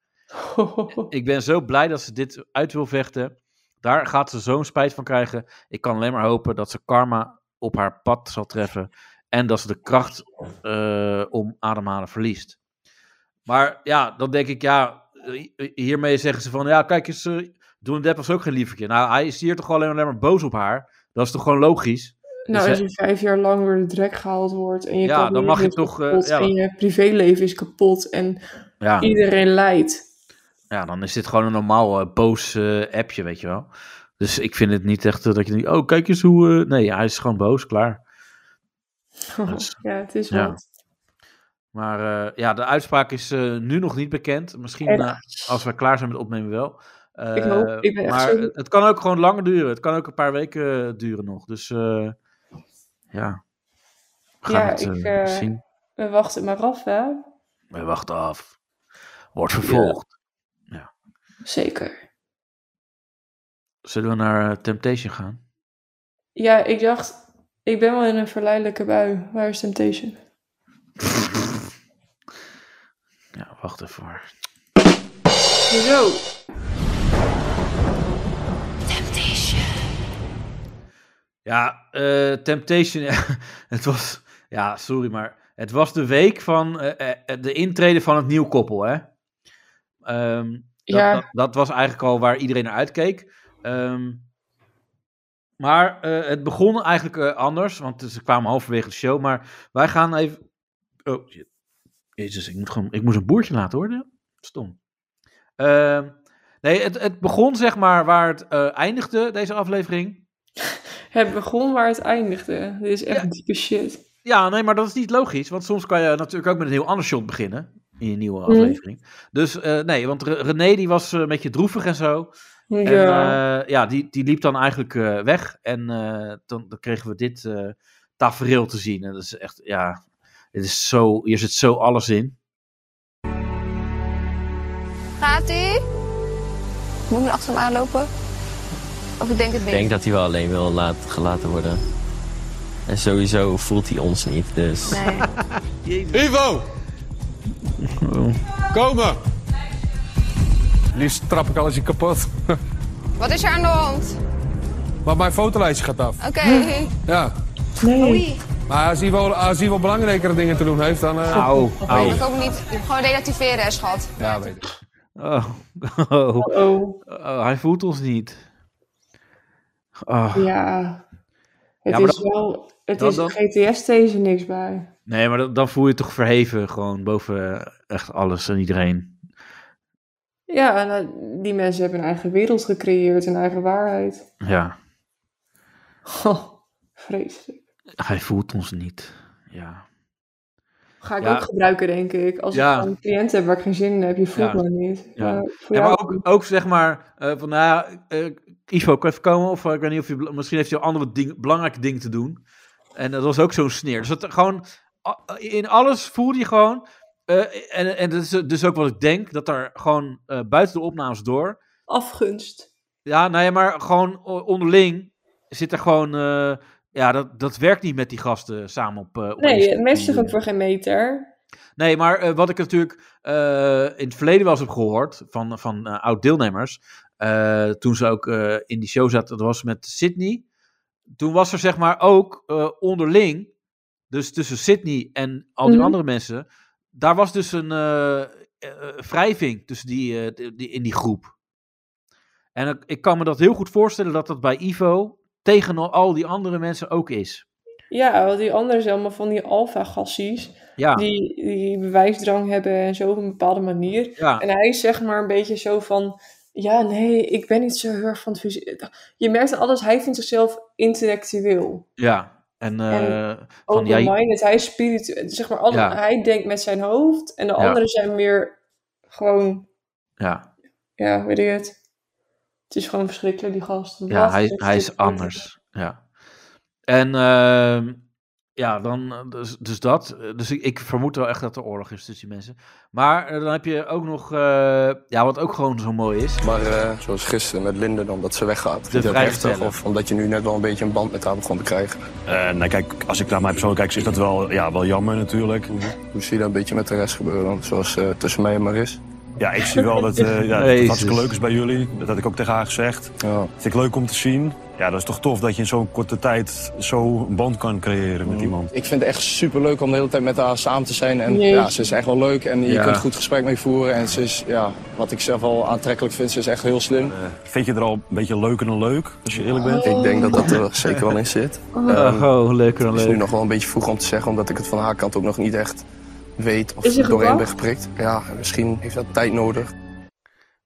S5: Ik ben zo blij dat ze dit uit wil vechten. Daar gaat ze zo'n spijt van krijgen. Ik kan alleen maar hopen dat ze karma op haar pad zal treffen. En dat ze de kracht eh, om ademhalen verliest. Maar ja, dan denk ik, ja, eh, hiermee zeggen ze van, ja, kijk eens, eh, Johnny Depp was ook geen lievertje. Nou, hij is hier toch alleen alleen maar boos op haar. Dat is toch gewoon logisch? Dus,
S6: Nou, als
S5: eh,
S6: je vijf jaar lang door de drek gehaald wordt en je
S5: Ja,
S6: carrière
S5: dan mag je
S6: is
S5: toch, eh,
S6: kapot
S5: ja.
S6: en je privéleven is kapot en
S5: Ja.
S6: iedereen lijdt.
S5: Ja, dan is dit gewoon een normaal eh, boos eh, appje, weet je wel. Dus ik vind het niet echt eh, dat je denkt, oh, kijk eens hoe... eh, Nee, hij is gewoon boos, klaar. Dus-
S6: ja, het is
S5: ja.
S6: wat.
S5: Maar eh, ja, de uitspraak is eh, nu nog niet bekend. Misschien
S6: En-
S5: eh, als we klaar zijn met opnemen wel. Eh,
S6: Ik hoop- ik ben echt
S5: maar
S6: zo-
S5: het kan ook gewoon langer duren. Het kan ook een paar weken eh, duren nog. Dus eh, ja, we gaan
S6: Ja,
S5: het eh,
S6: ik, eh,
S5: zien.
S6: We wachten maar af, hè?
S5: We wachten af. Wordt vervolgd.
S6: Zeker.
S5: Zullen we naar eh, Temptation gaan?
S6: Ja, ik dacht, ik ben wel in een verleidelijke bui. Waar is Temptation?
S5: Ja, wacht even maar.
S6: Zo.
S5: Ja, eh, Temptation, ja, het was, ja, sorry, maar het was de week van eh, eh, de intrede van het nieuw koppel, hè? Ehm, dat,
S6: Ja.
S5: dat, dat was eigenlijk al waar iedereen naar uitkeek. Ehm, maar eh, het begon eigenlijk eh, anders, want ze kwamen halverwege de show, maar wij gaan even... Oh, shit. Jezus, ik moet gewoon, ik moest een boertje laten hoor, stom. Ehm, nee, het, het begon zeg maar waar het eh, eindigde, deze aflevering.
S6: Het begon waar het eindigde. Dit is echt
S5: Ja.
S6: diepe shit.
S5: Ja, nee, maar dat is niet logisch. Want soms kan je natuurlijk ook met een heel ander shot beginnen. In een nieuwe
S6: Mhm.
S5: aflevering. Dus eh, nee, want Re- René die was eh, een beetje droevig en zo. En
S6: ja.
S5: eh, ja, die, die liep dan eigenlijk eh, weg. En eh, dan, dan kregen we dit eh, tafereel te zien. En dat is echt, ja, het is zo, hier zit zo alles in.
S9: Gaat ie? Moet ik er achter hem aanlopen? Of ik denk het niet.
S10: Ik denk dat hij wel alleen wil laat, gelaten worden. En sowieso voelt hij ons niet, dus...
S9: Nee.
S11: Ivo! Komen! Oh. Liefst trap ik alles in kapot.
S9: Wat is er aan de hand?
S11: Maar mijn fotolijstje gaat af.
S9: Oké.
S11: Hm. Ja.
S9: Oei.
S11: Maar als Ivo, als Ivo belangrijkere dingen te doen heeft, dan... eh,
S5: Au,
S9: Ik
S5: au.
S9: heb ook niet gewoon relativeren, hè, schat.
S11: Ja, weet ik.
S5: Oh, oh,
S6: Oh,
S5: oh, hij voelt ons niet. Oh.
S6: ja. Het
S5: Ja, maar
S6: is
S5: dat-
S6: wel... Het
S5: dat-
S6: is
S5: dat-
S6: GTS deze niks bij.
S5: Nee, maar dan, dan voel je toch verheven. Gewoon boven eh, echt alles en iedereen.
S6: Ja, en, eh, die mensen hebben een eigen wereld gecreëerd, een eigen waarheid.
S5: Ja,
S6: Goh, Oh, vreselijk.
S5: hij voelt ons niet. Ja.
S6: Ga ik
S5: Ja.
S6: ook gebruiken, denk ik. Als
S5: Ja.
S6: ik gewoon een cliënt heb waar ik geen zin in heb, je voelt
S5: Ja.
S6: me niet.
S5: Ja.
S6: Maar Eh, voor
S5: ja
S6: jou-
S5: maar ook, ook zeg maar eh, van, nou ja, eh, Ivo, kan je even komen? Of eh, ik weet niet of je, bel- misschien heeft hij andere ding, belangrijke dingen te doen. En dat was ook zo'n sneer. Dus dat er gewoon, a- eh, in alles voelde je gewoon, eh, en, en dat is dus ook wat ik denk, dat er gewoon eh, buiten de opnames door,
S6: afgunst.
S5: Ja, nou ja, maar gewoon o- onderling zit er gewoon. eh, ja, dat, dat werkt niet met die gasten samen op. eh, op
S6: Nee,
S5: Instagram.
S6: het matcht zich ook voor geen meter.
S5: Nee, maar eh, wat ik natuurlijk eh, in het verleden wel eens heb gehoord van, van eh, oud-deelnemers. eh, toen ze ook eh, in die show zaten, dat was met Sydney. Toen was er zeg maar ook eh, onderling, dus tussen Sydney en al die
S6: Mhm.
S5: andere mensen. Daar was dus een eh, eh, eh, wrijving tussen die, eh, die- die, in die groep. En ik, ik kan me dat heel goed voorstellen dat dat bij Ivo tegen al- al die andere mensen ook is.
S6: Ja, want die anderen zijn allemaal van die alfa-gassies.
S5: Ja,
S6: Die, die bewijsdrang hebben en zo op een bepaalde manier.
S5: ja.
S6: En hij is zeg maar een beetje zo van... Ja, nee, ik ben niet zo heel erg van het fysiek. Je merkt aan alles, hij vindt zichzelf intellectueel.
S5: ja. En, eh, van, ja, je-
S6: Open-minded, hij is spiritueel. Zeg maar, alles,
S5: Ja.
S6: hij denkt met zijn hoofd. En de
S5: Ja.
S6: anderen zijn meer gewoon...
S5: ja.
S6: ja, weet ik het. Het is gewoon verschrikkelijk, die gast.
S5: Ja,
S6: Wat
S5: hij,
S6: een
S5: hij is
S6: stuk.
S5: anders. Ja. En ehm, ja, dan eh, dus, dus dat. Eh, Dus ik, ik vermoed wel echt dat er oorlog is tussen die mensen. Maar eh, dan heb je ook nog, eh, ja, wat ook gewoon zo mooi is.
S12: Maar eh, zoals gisteren met Linde dan, dat ze weggaat. Vind je dat
S5: vrijstelling.
S12: heftig? Of omdat je nu net wel een beetje een band met haar begon te krijgen.
S13: Eh, nou kijk, als ik naar mij persoonlijk kijk, is dat wel, ja, wel jammer natuurlijk.
S12: Mhm. Hoe zie je dat een beetje met de rest gebeuren? dan? Zoals eh, tussen mij en Maris.
S13: Ja, ik zie wel dat, eh ja, dat het
S12: Jezus.
S13: hartstikke leuk is bij jullie. Dat had ik ook tegen haar gezegd. Vind ik leuk om te zien. Ja, dat is toch tof dat je in zo'n korte tijd zo'n band kan creëren met iemand.
S12: Ik vind het echt super leuk om de hele tijd met haar samen te zijn. En
S13: Jee.
S12: ja, ze is echt wel leuk en je
S13: Ja.
S12: kunt goed gesprek mee voeren. En ze is, ja, wat ik zelf al aantrekkelijk vind, ze is echt heel slim.
S13: Vind je er al een beetje leuker dan leuk, als je eerlijk bent?
S12: Ik denk dat dat er zeker wel in zit.
S13: Oh.
S12: Ehm,
S5: oh, leuker dan
S12: Het is
S5: leuk.
S12: nu nog wel een beetje vroeg om te zeggen, omdat ik het van haar kant ook nog niet echt weet of
S6: Is er
S12: doorheen ben
S6: gewacht?
S12: geprikt. Ja, misschien heeft dat tijd nodig.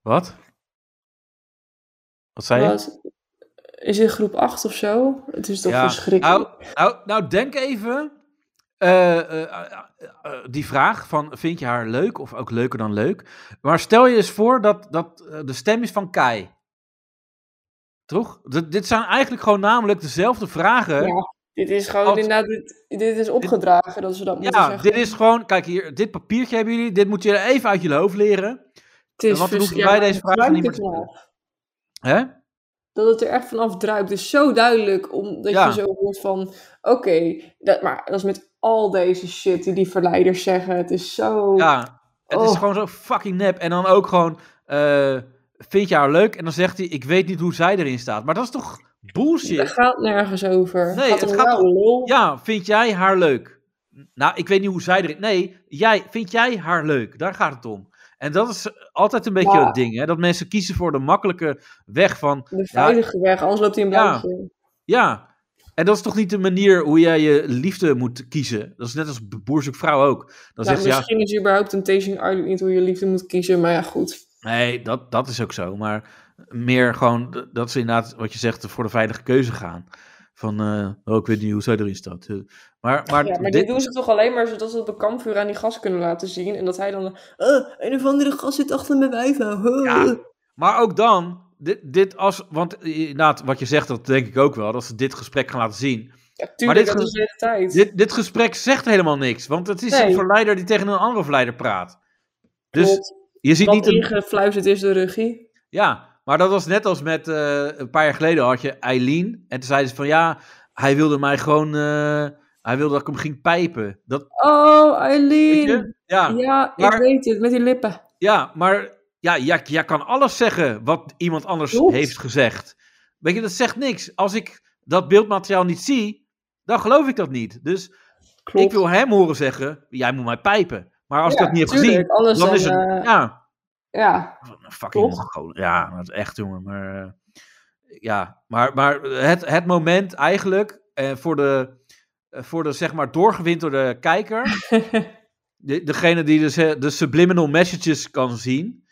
S5: Wat? Wat zei je?
S6: Wat? Is in groep 8 of zo? Het is toch verschrikkelijk.
S5: Nou, nou, nou, denk even. eh, eh, eh, eh, die vraag van vind je haar leuk of ook leuker dan leuk? Maar stel je eens voor dat, dat eh, de stem is van Kai. Toch? D- dit zijn eigenlijk gewoon namelijk dezelfde vragen.
S6: Ja, dit is gewoon
S5: Als-
S6: inderdaad, dit, dit is opgedragen dat ze dat moeten
S5: Ja,
S6: zeggen.
S5: dit is gewoon, kijk hier, dit papiertje hebben jullie, dit moet je even uit je hoofd leren.
S6: Het is
S5: want dan hoeven
S6: vers-
S5: wij
S6: ja,
S5: deze
S6: het
S5: vragen niet meer
S6: ruikt
S5: te
S6: het wel.
S5: Hè?
S6: Dat het er echt vanaf druipt. Het is zo duidelijk, omdat
S5: Ja.
S6: je zo hoort van... Oké, dat maar dat is met al deze shit die die verleiders zeggen. Het is zo...
S5: Ja, het is
S6: Oh.
S5: gewoon zo fucking nep. En dan ook gewoon, eh, vind je haar leuk? En dan zegt hij, ik weet niet hoe zij erin staat. Maar dat is toch bullshit?
S6: Het gaat nergens over.
S5: Nee,
S6: gaat
S5: het
S6: om
S5: gaat
S6: jou, lol.
S5: Ja, vind jij haar leuk? Nou, ik weet niet hoe zij erin... Nee, jij, vind jij haar leuk? Daar gaat het om. En dat is altijd een beetje
S6: Ja.
S5: het ding, hè? Dat mensen kiezen voor de makkelijke weg van...
S6: De veilige weg, anders loopt hij een
S5: Ja.
S6: blauwtje.
S5: Ja, en dat is toch niet de manier hoe jij je liefde moet kiezen? Dat is net als boer zoekt vrouw ook. Dan
S6: Nou,
S5: zegt ze, ja,
S6: misschien is überhaupt Temptation Island niet hoe je liefde moet kiezen, maar ja, goed.
S5: Nee, dat, dat is ook zo. Maar meer gewoon d- dat ze inderdaad, wat je zegt, voor de veilige keuze gaan. Van, eh, oh, ik weet niet hoe zij erin staat. Eh, Maar, maar,
S6: ja, maar dit doen ze toch alleen maar zodat ze het op een kampvuur aan die gast kunnen laten zien. En dat hij dan... eh een of andere gast zit achter mijn wijf. aan. Huh.
S5: Ja, maar ook dan, dit, dit als, want inderdaad, wat je zegt, dat denk ik ook wel, dat ze dit gesprek gaan laten zien. maar
S6: Tuurlijk,
S5: dit,
S6: dat
S5: ge-
S6: is de hele tijd.
S5: dit, dit gesprek zegt helemaal niks, want het is
S6: Nee.
S5: een verleider die tegen een andere verleider praat. Dus
S6: Klopt.
S5: je ziet
S6: Wat
S5: niet een,
S6: ingefluisterd is door de regie.
S5: Ja, maar dat was net als met eh, een paar jaar geleden had je Eileen. En toen zei ze van ja, hij wilde mij gewoon. eh, hij wilde dat ik hem ging pijpen. Dat,
S6: Oh,
S5: Weet je?
S6: Eileen.
S5: Ja, maar-
S6: ik weet het. Met die lippen.
S5: ja, maar ja, jij, jij kan alles zeggen wat iemand anders
S6: Klopt.
S5: heeft gezegd. Weet je, dat zegt niks. Als ik dat beeldmateriaal niet zie, dan geloof ik dat niet. Dus ik wil hem horen zeggen: jij moet mij pijpen. Maar als
S6: Ja,
S5: ik dat niet heb
S6: tuurlijk,
S5: gezien, dan,
S6: anders dan,
S5: is het.
S6: eh,
S5: ja,
S6: Ja.
S5: Fucking Mongolen. Ja, dat is echt jongen. Maar, eh, ja, maar, maar het, het moment eigenlijk eh, voor de, eh, voor de zeg maar doorgewinterde kijker. de, degene die dus, eh, de subliminal messages kan zien.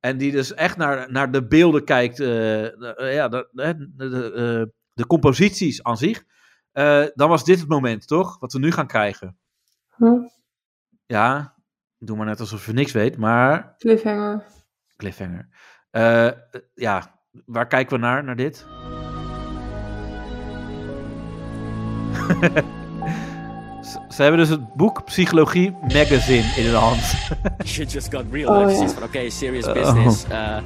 S5: En die dus echt naar, naar de beelden kijkt. eh, de- eh, ja, de, de, de- de, eh, de composities aan zich. eh, dan was dit het moment, toch? Wat we nu gaan krijgen.
S6: Hm?
S5: Ja, doe maar net alsof je niks weet. Maar
S6: Cliffhanger.
S5: cliffhanger. Eh, eh, ja, waar kijken we naar, naar dit? ze, ze hebben dus het boek Psychologie Magazine in de hand.
S14: Shit just got real.
S5: Oh,
S14: hè.
S5: ja.
S14: Precies van oké, serious
S5: Oh.
S14: business. eh,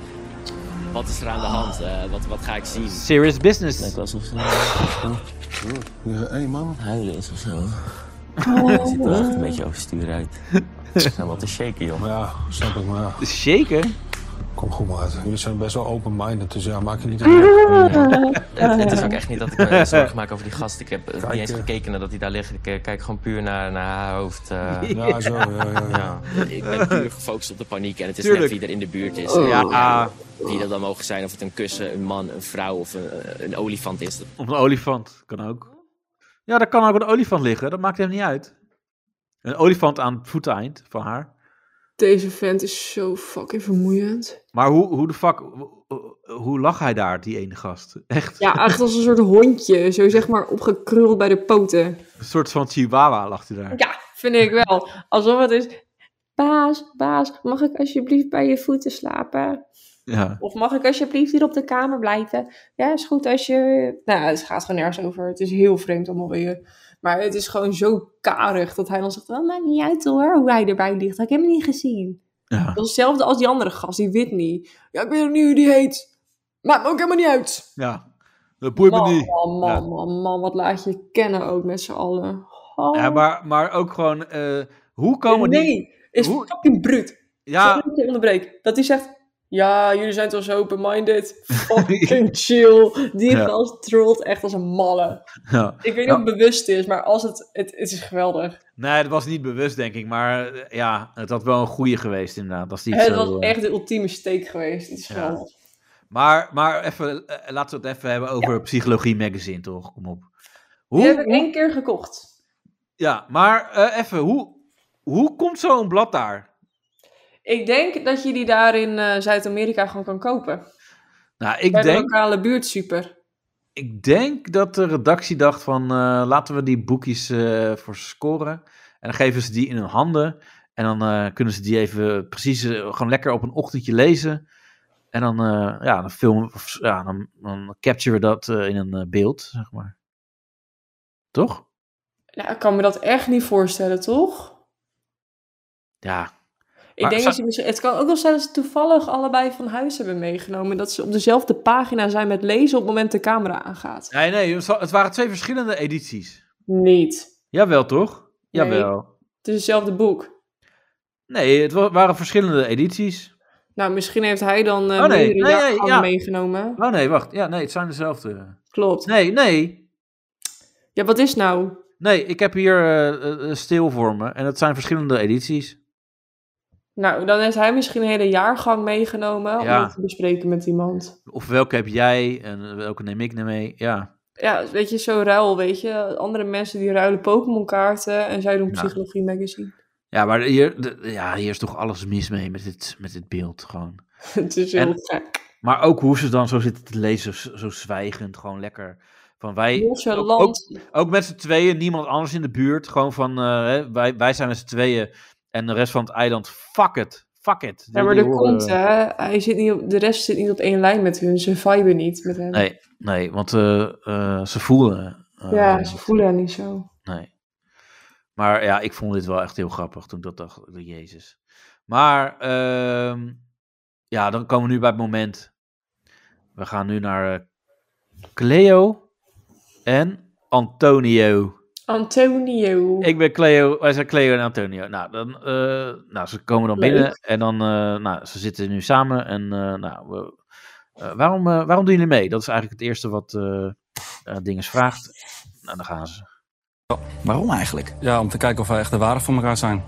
S14: wat is er aan de hand? Eh, wat, wat ga ik zien?
S5: Serious business. Lijkt
S14: wel alsof
S10: hey, man. Huilen is of zo.
S14: Oh.
S10: Je ziet er echt een beetje overstuur uit. Ze zijn wel te shaken, joh.
S11: Ja, snap ik, maar ja.
S5: Zeker?
S11: Kom goed, maar jullie zijn best wel open-minded, dus ja, maak je niet
S14: Het, het is ook echt niet dat ik me zorgen maak over die gast. Ik heb eh,
S11: Kijk,
S14: niet eens
S11: eh.
S14: gekeken naar dat hij daar ligt. Ik eh, kijk gewoon puur naar, naar haar hoofd. eh.
S11: Ja, zo, ja, ja, ja.
S14: Ik ben puur gefocust op de paniek. En het is
S11: Tuurlijk.
S14: net wie er in de buurt is.
S11: Oh.
S14: En
S11: Ja.
S14: Wie dat dan mogen zijn. Of het een kussen, een man, een vrouw of een, een olifant is. Dat
S5: Of een olifant, kan ook. Ja, daar kan ook een olifant liggen, dat maakt hem niet uit. Een olifant aan het voeteneind van haar.
S6: Deze vent is zo fucking vermoeiend.
S5: Maar hoe, hoe de fuck, hoe, hoe lag hij daar, die ene gast? Echt,
S6: Ja, echt als een soort hondje. Zo zeg maar opgekruld bij de poten.
S5: een soort van chihuahua lag hij daar.
S6: Ja, vind ik wel. Alsof het is... Baas, baas, mag ik alsjeblieft bij je voeten slapen?
S5: Ja.
S6: Of mag ik alsjeblieft hier op de kamer blijven? Ja, is goed als je... Nou, ja, het gaat gewoon nergens over. Het is heel vreemd allemaal weer. Maar het is gewoon zo karig dat hij dan zegt... Oh, maakt niet uit hoor, hoe hij erbij ligt. Dat heb ik hem niet gezien.
S5: Ja.
S6: Dat is hetzelfde als die andere gast, die Whitney. Ja, ik weet ook niet hoe die heet. Maakt me ook helemaal niet uit.
S5: Ja. Dat boeit me
S6: man,
S5: niet.
S6: man, man,
S5: Ja.
S6: man, man, wat laat je kennen ook met z'n allen. Oh.
S5: Ja, maar, maar ook gewoon, eh, hoe komen
S6: nee,
S5: die...
S6: is fucking bruut.
S5: Ja,
S6: Sorry dat ik je onderbreek. Dat hij zegt, ja, jullie zijn toch zo open-minded. Fucking chill. Die
S5: Ja.
S6: gast trolt echt als een malle.
S5: ja.
S6: Ik weet niet
S5: Ja.
S6: of het bewust is, maar als het, het, het is geweldig.
S5: Nee, dat was niet bewust, denk ik. Maar eh, ja, het had wel een goeie geweest, inderdaad. Als die
S6: Het
S5: zo,
S6: was
S5: eh,
S6: echt de ultieme steek geweest. Het is
S5: Ja.
S6: geweldig.
S5: Maar, maar even, eh, laten we het even hebben over Psychologie Magazine, toch? Kom op. Hoe,
S6: Die heb ik één keer gekocht.
S5: Ja, maar eh, even, hoe, hoe komt zo'n blad daar?
S6: Ik denk dat je die daar in eh, Zuid-Amerika gewoon kan kopen.
S5: Nou, ik
S6: Bij de
S5: denk,
S6: lokale buurt super.
S5: ik denk dat de redactie dacht van, eh, laten we die boekjes eh, voor ze scoren. En dan geven ze die in hun handen. En dan eh, kunnen ze die even precies, eh, gewoon lekker op een ochtendje lezen. En dan, eh, ja, dan filmen, of, ja, dan, dan capturen we dat eh, in een eh, beeld, zeg maar. Toch?
S6: Nou, ik kan me dat echt niet voorstellen, toch?
S5: Ja.
S6: Ik
S5: Maar
S6: denk
S5: zou-
S6: dat je misschien, het kan ook wel zijn dat ze toevallig allebei van huis hebben meegenomen. Dat ze op dezelfde pagina zijn met lezen op het moment de camera aangaat.
S5: Nee, nee, het wa- het waren twee verschillende edities.
S6: Niet.
S5: Jawel, toch?
S6: Nee.
S5: Jawel.
S6: Het is hetzelfde boek.
S5: Nee, het wa- waren verschillende edities.
S6: Nou, misschien heeft hij dan eh
S5: Oh, nee.
S6: meerdere
S5: Nee, nee,
S6: jaargangen
S5: ja.
S6: meegenomen.
S5: Oh nee, wacht. Ja, nee, het zijn dezelfde.
S6: Klopt.
S5: Nee, nee.
S6: Ja, wat is nou?
S5: Nee, ik heb hier eh, eh, stil voor me. En het zijn verschillende edities.
S6: Nou, dan heeft hij misschien een hele jaargang meegenomen om
S5: Ja.
S6: dat te bespreken met iemand.
S5: Of welke heb jij en welke neem ik nou mee? Ja.
S6: Ja, weet je, zo ruil, weet je. Andere mensen die ruilen Pokémon kaarten en zij doen
S5: Ja.
S6: Psychologie Magazine.
S5: Ja, maar hier, de- ja, hier is toch alles mis mee met dit, met dit beeld gewoon.
S6: Het is
S5: En-
S6: heel gek.
S5: Maar ook hoe ze dan zo zitten te lezen, zo, zo zwijgend, gewoon lekker. Van wij, ook, ook,
S6: Nonchalant.
S5: ook met z'n tweeën, niemand anders in de buurt. Gewoon van, eh, hè, wij, wij zijn met z'n tweeën en de rest van het eiland, fuck it, fuck it.
S6: Ja, maar
S5: Die
S6: er
S5: horen-
S6: komt, eh, hè. Hij zit niet op, de rest zit niet op één lijn met hun. Ze viben niet met hem.
S5: Nee, nee, want eh, eh, ze voelen. eh,
S6: ja, ze voelen hem niet zo.
S5: Nee. Maar ja, ik vond dit wel echt heel grappig toen ik dat dacht. oh, Jezus. Maar ehm, ja, dan komen we nu bij het moment. We gaan nu naar eh, Cleo en Antonio.
S6: Antonio.
S5: Ik ben Cleo, wij zijn Cleo en Antonio. Nou, dan, eh, nou ze komen dan
S6: Leuk.
S5: binnen en dan, eh, nou, ze zitten nu samen. En eh, nou, we- eh, waarom, eh, waarom doen jullie mee? Dat is eigenlijk het eerste wat eh eh, Dinges vraagt. Nou, dan gaan ze.
S15: Waarom eigenlijk? Ja, om te kijken of wij echt de ware voor elkaar zijn.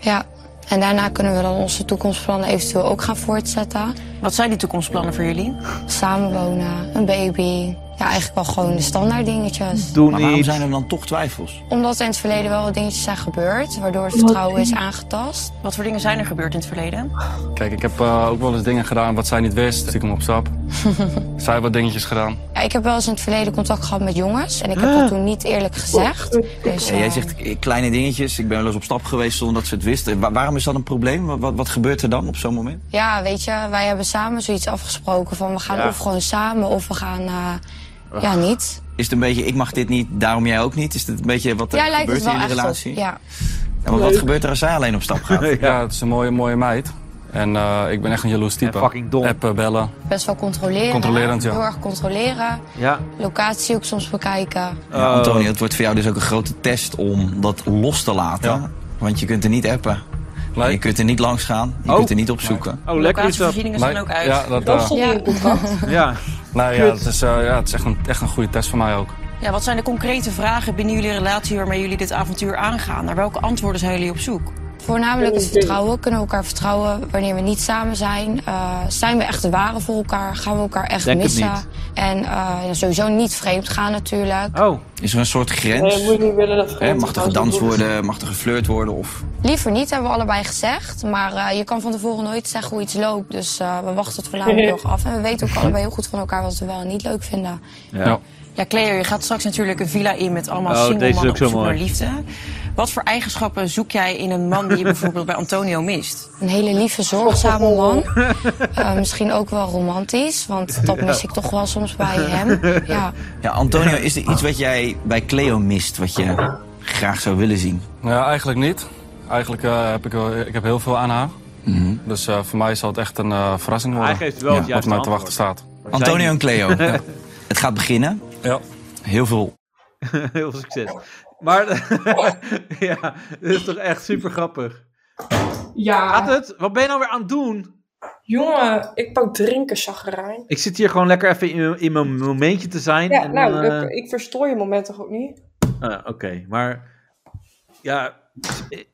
S9: Ja, en daarna kunnen we dan onze toekomstplannen eventueel ook gaan voortzetten. Wat zijn die toekomstplannen voor jullie? Samenwonen, een baby. Ja, eigenlijk wel gewoon de standaard dingetjes.
S15: maar waarom zijn er dan toch twijfels?
S9: Omdat er in het verleden wel wat dingetjes zijn gebeurd, waardoor het vertrouwen is aangetast.
S16: Wat voor dingen zijn er gebeurd in het verleden?
S15: Kijk, ik heb eh, ook wel eens dingen gedaan wat zij niet wist. Stiekem op stap. zij heeft wat dingetjes gedaan.
S9: Ja, ik heb wel eens in het verleden contact gehad met jongens en ik heb dat toen niet eerlijk gezegd. Dus,
S16: Ja, Ah. jij
S9: eh,
S16: zegt eh, kleine dingetjes. Ik ben wel eens op stap geweest zonder dat ze het wisten. Wa- waarom is dat een probleem? Wat, wat, wat gebeurt er dan op zo'n moment?
S9: Ja, weet je, wij hebben samen zoiets afgesproken van we gaan
S16: Ja.
S9: of gewoon samen of we gaan eh, ja, niet.
S16: Is het een beetje, ik mag dit niet, daarom jij ook niet? Is het een beetje wat er
S9: ja, lijkt
S16: gebeurt
S9: het wel
S16: in de
S9: echt op,
S16: relatie?
S9: Ja.
S16: Ja, want wat
S9: Leuk.
S16: gebeurt er als zij alleen op stap gaat?
S15: ja, het is een mooie, mooie meid. En eh, ik ben echt een jaloers type. fucking dom. Appen, bellen.
S9: Best wel controleren.
S15: Controlerend, ja.
S9: Heel erg controleren.
S5: Ja.
S9: Locatie ook soms bekijken.
S16: Ja, Antonio, het wordt voor jou dus ook een grote test om dat los te laten. Want je kunt er niet appen. En je kunt er niet langs gaan. Je kunt er niet opzoeken.
S5: Oh, lekker is dat.
S16: Locatievoorzieningen zijn
S15: Maar-
S16: ook uit.
S15: Ja, dat,
S16: Dat
S15: eh,
S16: stond
S15: ja.
S16: in je contract.
S5: Ja.
S15: Nee, ja,
S16: Kut.
S15: het is, eh, ja, het is echt een, echt een goede test voor mij ook.
S16: Ja, wat zijn de concrete vragen binnen jullie relatie waarmee jullie dit avontuur aangaan? Naar welke antwoorden zijn jullie op zoek?
S9: Voornamelijk het vertrouwen. Kunnen we elkaar vertrouwen wanneer we niet samen zijn? Eh, zijn we echt de ware voor elkaar? Gaan we elkaar echt
S16: Denk het
S9: missen?
S16: niet.
S9: En eh, ja, sowieso niet vreemd gaan natuurlijk.
S5: Oh.
S16: Is er een soort grens?
S9: Nee, moet niet willen dat
S16: Hè,
S9: grens
S16: mag er
S9: gehouden
S16: gedanst
S9: wordt.
S16: worden? Mag er geflirt worden? Of...
S9: Liever niet, hebben we allebei gezegd. Maar eh, je kan van tevoren nooit zeggen hoe iets loopt. Dus eh, we wachten het voornamelijk nog af. En we weten ook allebei heel goed van elkaar wat we wel en niet leuk vinden.
S5: Ja.
S17: Ja, Cleo, je gaat straks natuurlijk een villa in met allemaal
S5: Oh,
S17: single
S5: deze is
S17: mannen
S5: ook zo
S17: op zoek naar
S5: mooi.
S17: liefde. Wat voor eigenschappen zoek jij in een man die je bijvoorbeeld bij Antonio mist?
S9: Een hele lieve, zorgzame man. Eh, misschien ook wel romantisch, want dat
S16: Ja.
S9: mis ik toch wel soms bij hem. Ja.
S16: Ja, Antonio, is er iets wat jij bij Cleo mist, wat je graag zou willen zien?
S15: Ja, eigenlijk niet. Eigenlijk eh, heb ik, wel- ik heb heel veel aan haar.
S16: Mhm.
S15: Dus eh, voor mij zal het echt een eh, verrassing worden.
S16: Hij geeft wel het
S15: Wat
S16: juiste
S15: mij te
S16: antwoord.
S15: wachten staat.
S16: Antonio en Cleo.
S15: Ja.
S16: Het gaat beginnen.
S15: Ja.
S16: Heel veel
S5: Heel veel succes. Maar ja, dit is toch echt super grappig.
S6: Ja.
S5: Gaat het? Wat ben je nou weer aan het doen?
S6: Jongen, ik pak drinken, chagrijn.
S5: Ik zit hier gewoon lekker even in, in mijn momentje te zijn.
S6: Ja,
S5: en,
S6: nou,
S5: eh,
S6: ik, ik verstoor je moment toch ook niet?
S5: eh, Oké, maar ja,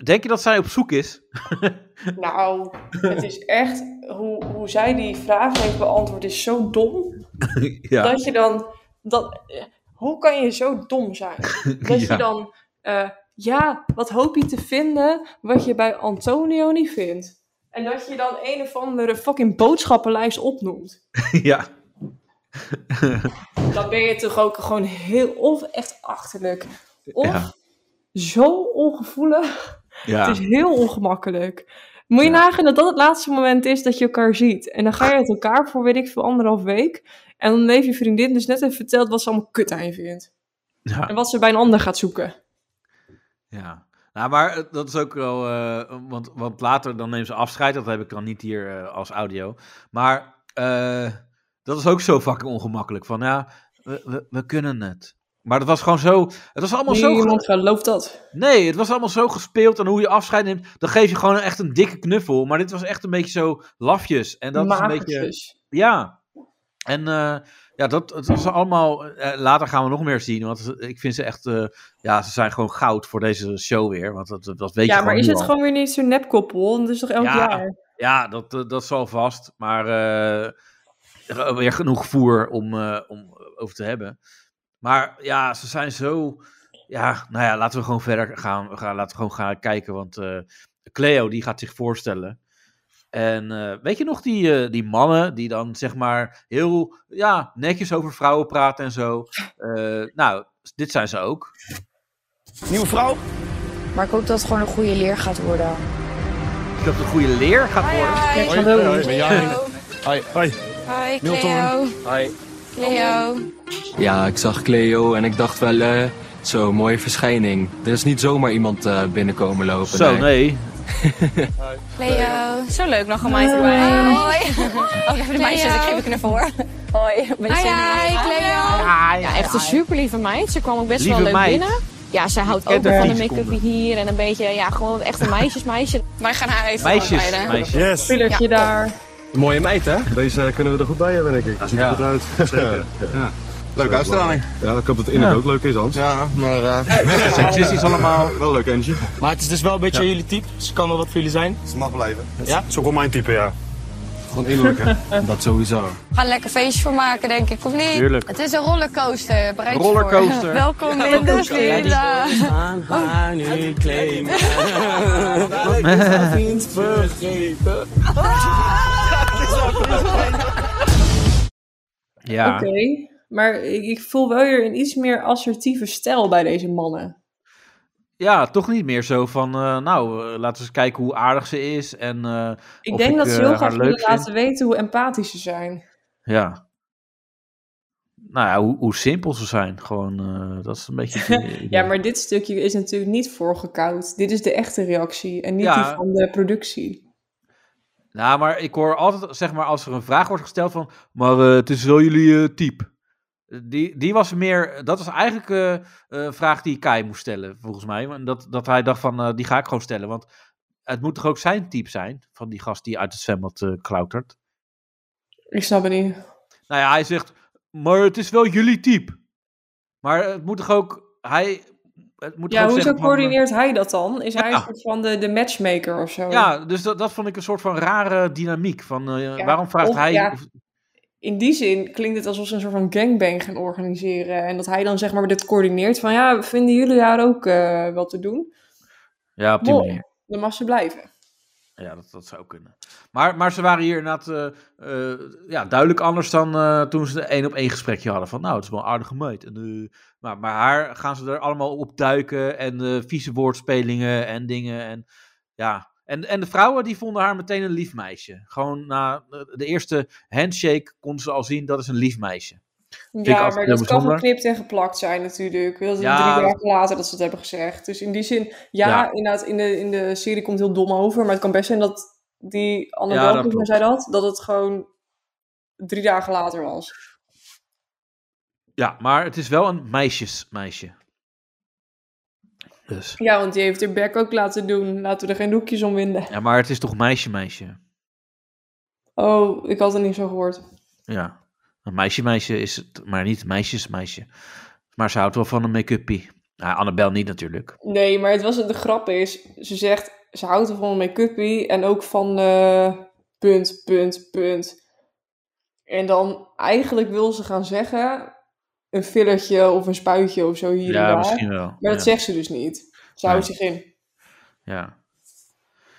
S5: denk je dat zij op zoek is?
S6: Nou, het is echt... Hoe, hoe zij die vraag heeft beantwoord is zo dom. Dat je dan... Dat, eh, hoe kan je zo dom zijn? Dat
S5: Ja.
S6: je dan... eh, ja, wat hoop je te vinden wat je bij Antonio niet vindt? En dat je dan een of andere fucking boodschappenlijst opnoemt.
S5: ja.
S6: Dan ben je toch ook gewoon heel of echt achterlijk. Of
S5: Ja.
S6: zo ongevoelig.
S5: Ja.
S6: Het is heel ongemakkelijk. Moet je nagaan dat dat het laatste moment is dat je elkaar ziet. En dan ga je uit elkaar voor weet ik veel anderhalf week. En dan heeft je vriendin dus net even verteld wat ze allemaal kut aan je vindt.
S5: Ja.
S6: En wat ze bij een ander gaat zoeken.
S5: Ja. Nou, maar eh, dat is ook wel. eh, want, want later dan nemen ze afscheid. Dat heb ik dan niet hier eh, als audio. Maar eh, dat is ook zo fucking ongemakkelijk. Van ja, we, we, we kunnen het. Maar dat was gewoon zo. Het was allemaal zo. ge-
S6: Niemand gelooft dat.
S5: Nee, het was allemaal zo gespeeld. En hoe je afscheid neemt. Dan geef je gewoon echt een dikke knuffel. Maar dit was echt een beetje zo lafjes. En dat is een beetje.
S6: Magertjes.
S5: Ja. En eh, ja, dat, het was allemaal. eh, later gaan we nog meer zien. Want ze- ik vind ze echt. eh, ja, ze zijn gewoon goud voor deze show weer. Want dat, dat weet je
S6: ja, maar
S5: gewoon
S6: is
S5: nu
S6: het
S5: al.
S6: gewoon weer niet zo'n nepkoppel? Dat is toch elk
S5: Ja.
S6: jaar?
S5: Ja, dat, eh, dat zal vast. Maar eh, weer genoeg voer om, eh, om over te hebben. Maar ja, ze zijn zo. Ja, nou ja, laten we gewoon verder gaan. We gaan laten we gewoon gaan kijken. Want eh, Cleo die gaat zich voorstellen. En eh, weet je nog die, eh, die mannen die dan zeg maar heel ja, netjes over vrouwen praten en zo. Eh, nou, dit zijn ze ook.
S16: Nieuwe vrouw?
S9: Maar ik hoop dat het gewoon een goede leer gaat worden.
S5: Dat een goede leer gaat worden.
S9: Hoi, Hallo. hoi,
S16: ben Jaring.
S15: Hoi. Hoi.
S9: Hoi,
S15: Milton.
S18: Hi.
S9: Leo.
S18: Ja, ik zag Cleo en ik dacht wel, eh, zo, mooie verschijning. Er is niet zomaar iemand eh, binnenkomen lopen.
S5: Zo, nee.
S9: Leo.
S17: Zo leuk, nog een meisje erbij.
S9: Hoi.
S17: Oh, even de meisjes, ik geef een knuffel hoor. Hoi, ben je
S9: Hi,
S17: zin
S9: hi,
S17: in?
S9: Cleo.
S17: Ja,
S9: Ja, echt een super lieve meid. Ze kwam ook best
S17: Lieve
S9: wel leuk
S17: meid.
S9: binnen. Ja, zij houdt
S17: kent
S9: ook
S17: haar
S9: wel van de
S17: tien
S9: make-up
S17: seconden.
S9: hier en een beetje, ja, gewoon echt een meisjesmeisje. Wij gaan haar even
S18: Yes.
S6: Spillertje daar.
S18: Mooie meid, hè? Deze kunnen we er goed bij hebben, denk ik. Ziet er goed uit. Zeker. Ja.
S19: Leuke uitstraling.
S18: Ja, ik hoop dat het inhoud
S19: Ja.
S18: ook leuk is, Hans.
S19: Ja, maar... Uh,
S18: Seksistisch allemaal.
S19: Wel leuk, Angie.
S18: Maar het is dus wel een beetje jullie type. Ze kan wel wat voor jullie zijn.
S19: Ze mag blijven.
S18: Ja? Dat is ook wel mijn type, ja. Gewoon innerlijk, hè? Dat sowieso.
S9: We gaan lekker feestje voor maken, denk ik, of niet?
S18: Tuurlijk.
S9: Het is een
S20: eh,
S9: rollercoaster. Bereid
S18: je voor. Rollercoaster.
S9: Welkom
S18: Ja,
S9: in de
S18: rollercoaster.
S9: villa.
S18: nu claimen. Dat ik het vriend vergeten.
S5: Ja.
S6: Oké, maar ik, ik voel wel weer een iets meer assertieve stijl bij deze mannen.
S5: Ja, toch niet meer zo van, eh, nou, eh, laten we eens kijken hoe aardig ze is. En, eh,
S6: Ik
S5: of
S6: denk dat ze
S5: eh,
S6: heel
S5: haar
S6: graag willen
S5: vind.
S6: laten weten hoe empathisch ze zijn.
S5: Ja. Nou ja, hoe, hoe simpel ze zijn. Gewoon, eh, dat is een beetje... het idee.
S6: Ja, maar dit stukje is natuurlijk niet voorgekoud. Dit is de echte reactie en niet
S5: Ja.
S6: die van de productie.
S5: Nou, maar ik hoor altijd, zeg maar, als er een vraag wordt gesteld van... Maar eh, het is wel jullie eh, type. Die, die was meer... Dat was eigenlijk eh, eh, een vraag die Kai moest stellen, volgens mij. Want Dat, dat hij dacht van, eh, die ga ik gewoon stellen. Want het moet toch ook zijn type zijn? Van die gast die uit het zwembad eh, klautert.
S6: Ik snap het niet.
S5: Nou ja, hij zegt, maar het is wel jullie type. Maar het moet toch ook, hij, het moet
S6: Ja,
S5: toch ook
S6: hoezo
S5: zeggen van, eh,
S6: coördineert hij dat dan? Is hij een soort van de, de matchmaker of zo?
S5: Ja, dus dat, dat vond ik een soort van rare dynamiek. Van, eh,
S6: Ja,
S5: waarom vraagt
S6: of-
S5: hij...
S6: ja,
S5: of-
S6: in die zin klinkt het alsof ze een soort van gangbang gaan organiseren. En dat hij dan zeg maar dit coördineert van ja, vinden jullie daar ook eh, wat te doen?
S5: ja op die
S6: Mooi.
S5: manier.
S6: Dan mag ze blijven.
S5: Ja, dat, dat zou kunnen. Maar, maar ze waren hier inderdaad eh, eh, ja, duidelijk anders dan eh, toen ze een één op één gesprekje hadden. Van nou, het is wel een aardige meid. En, eh, maar, maar haar gaan ze er allemaal op duiken en eh, vieze woordspelingen en dingen. En, ja. en, en de vrouwen die vonden haar meteen een lief meisje. Gewoon na eh, de de eerste handshake konden ze al zien dat is een lief meisje. Vind ik
S6: Ja,
S5: altijd
S6: maar
S5: heel
S6: dat kan
S5: bijzonder.
S6: geknipt en geplakt zijn natuurlijk. Dat is
S5: Ja,
S6: drie
S5: dat-
S6: dagen later dat ze het hebben gezegd. Dus in die zin, ja,
S5: Ja.
S6: inderdaad, in de, in de serie komt het heel dom over. Maar het kan best zijn dat die Anne
S5: Ja,
S6: ja,
S5: dat klopt.
S6: zei dat, dat het gewoon drie dagen later was.
S5: Ja, maar het is wel een meisjesmeisje. Dus.
S6: Ja, want die heeft haar bek ook laten doen. Laten we er geen doekjes om winden.
S5: Ja, maar het is toch meisje-meisje?
S6: Oh, ik had het niet zo gehoord.
S5: Ja. Een meisje-meisje is het, maar niet meisjes-meisje. Maar ze houdt wel van een make-uppie. Nou, Annabel niet natuurlijk.
S6: Nee, maar het was, de grap is, ze zegt, ze houdt van een make-upie en ook van eh, punt, punt, punt. En dan eigenlijk wil ze gaan zeggen een filletje of een spuitje of zo hier
S5: Ja,
S6: en daar.
S5: misschien wel,
S6: Maar dat
S5: ja.
S6: zegt ze dus niet. Ze houdt
S5: Nee.
S6: zich in.
S5: Ja.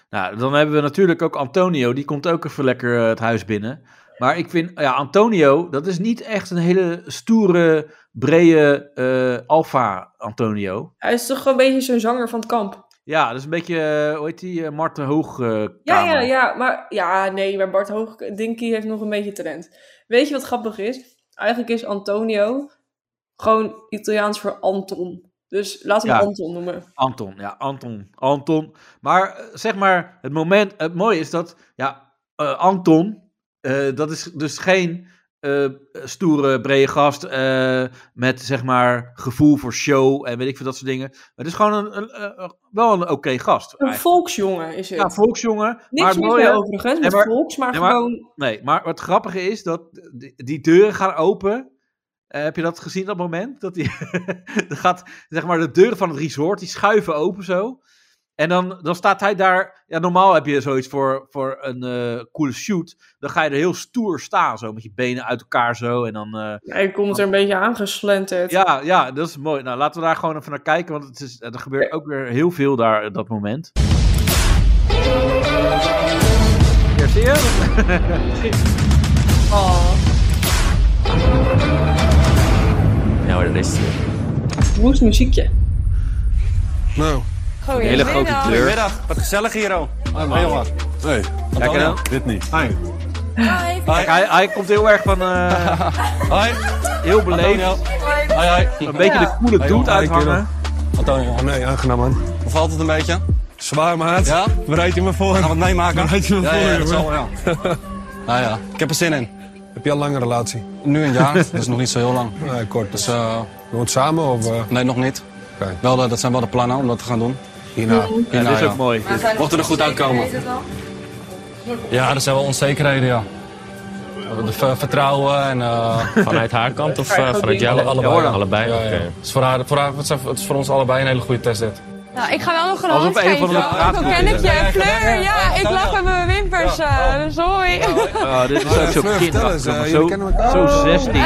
S5: Nou, dan hebben we natuurlijk ook Antonio. Die komt ook even lekker eh, het huis binnen. Maar ik vind, ja, Antonio, dat is niet echt een hele stoere, brede eh alfa Antonio.
S6: Hij is toch gewoon een beetje zo'n zanger van het kamp.
S5: Ja, dat is een beetje, eh, hoe heet die, eh, Marten Hoog eh,
S6: Ja, ja,
S5: kamer.
S6: ja, maar ja, nee, maar Bart Hoog, Dinky heeft nog een beetje talent. Weet je wat grappig is? Eigenlijk is Antonio gewoon Italiaans voor Anton. Dus laten we
S5: Ja.
S6: hem Anton noemen.
S5: Anton, ja, Anton, Anton. Maar eh, zeg maar, het moment, het mooie is dat, ja, eh, Anton, eh, dat is dus geen eh, stoere, brede gast eh, met, zeg maar, gevoel voor show en weet ik veel, dat soort dingen. Maar het is gewoon een, een, eh, wel een oké gast.
S6: Een
S5: eigenlijk.
S6: volksjongen is het.
S5: Ja, volksjongen.
S6: Niks
S5: maar
S6: mis
S5: mooie-
S6: mee overigens, met
S5: Nee, maar-
S6: volks, maar
S5: nee,
S6: gewoon...
S5: Nee, maar wat grappige is, dat die, die deuren gaan open. Eh, heb je dat gezien, dat moment? Dat die, er gaat, zeg maar, de deuren van het resort, die schuiven open zo. En dan, dan staat hij daar. Ja, normaal heb je zoiets voor, voor een eh, coole shoot. Dan ga je er heel stoer staan, zo met je benen uit elkaar zo. En dan, eh,
S6: Hij komt er een beetje aangeslenterd.
S5: ja, ja, dat is mooi. Nou, laten we daar gewoon even naar kijken, want het is, eh, er gebeurt ook weer heel veel daar eh, dat moment. Ja, zie je?
S6: Oh,
S10: Ja, maar dat is het.
S6: hoe is het muziekje?
S13: Nou.
S6: Goeie Hele grote middag. deur.
S13: Goedemiddag, wat gezellig hier al. Hoi man. Hey, jongen. Hey.
S5: Kijk
S13: Antonio,
S5: nou.
S13: Dit niet.
S5: Kijk, hij, hij komt heel erg van. eh, Heel beleefd.
S13: Hoi, hoi.
S5: Een beetje de coole dude
S13: Hey, joh. Hey,
S5: uithangen.
S13: kerel. Antonio. Nee, aangenaam man. Hoe valt het een beetje? Zwaar maat. Ja? Bereid je me voor. Gaan we het meemaken? Bereid je me
S11: Ja,
S13: voor,
S11: ja, dat
S13: jongen.
S11: zal wel,
S13: nou ja, ik heb er zin in. Heb je al lang een relatie? Nu een
S15: jaar. Dat is nog niet zo heel lang.
S13: Nee, kort.
S15: Dus, eh
S13: Je woont samen of... eh?
S15: nee, nog niet. Wel, eh, dat zijn wel de plannen om dat te gaan doen.
S13: Hierna.
S5: Ja, dit is ook mooi.
S15: Mocht het er goed uitkomen. Ja, er zijn wel onzekerheden, ja. De ver- vertrouwen en... eh,
S10: Vanuit haar kant of, eh, vanuit jou?
S15: Allebei.
S10: Ja, hoor. Allebei,
S15: Ja, ja.
S10: oké.
S15: Het is voor haar, voor haar, het is- het is voor ons allebei een hele goede test dit.
S20: Nou, ik ga wel nog een
S15: Alsof
S20: hand
S15: een
S20: geven.
S15: van de praat-
S20: Hoe ken ik
S15: Ja, ja,
S20: je? Fleur, ja, ik
S15: ja.
S20: lach met mijn wimpers. eh, sorry.
S5: Ah, dit is
S13: Ah,
S5: ook zo
S13: Fleur, vertel eens,
S5: kinderachtig.
S13: eh,
S5: maar
S13: jullie
S5: Zo,
S13: kennen elkaar?
S5: zo 16.
S20: Eh,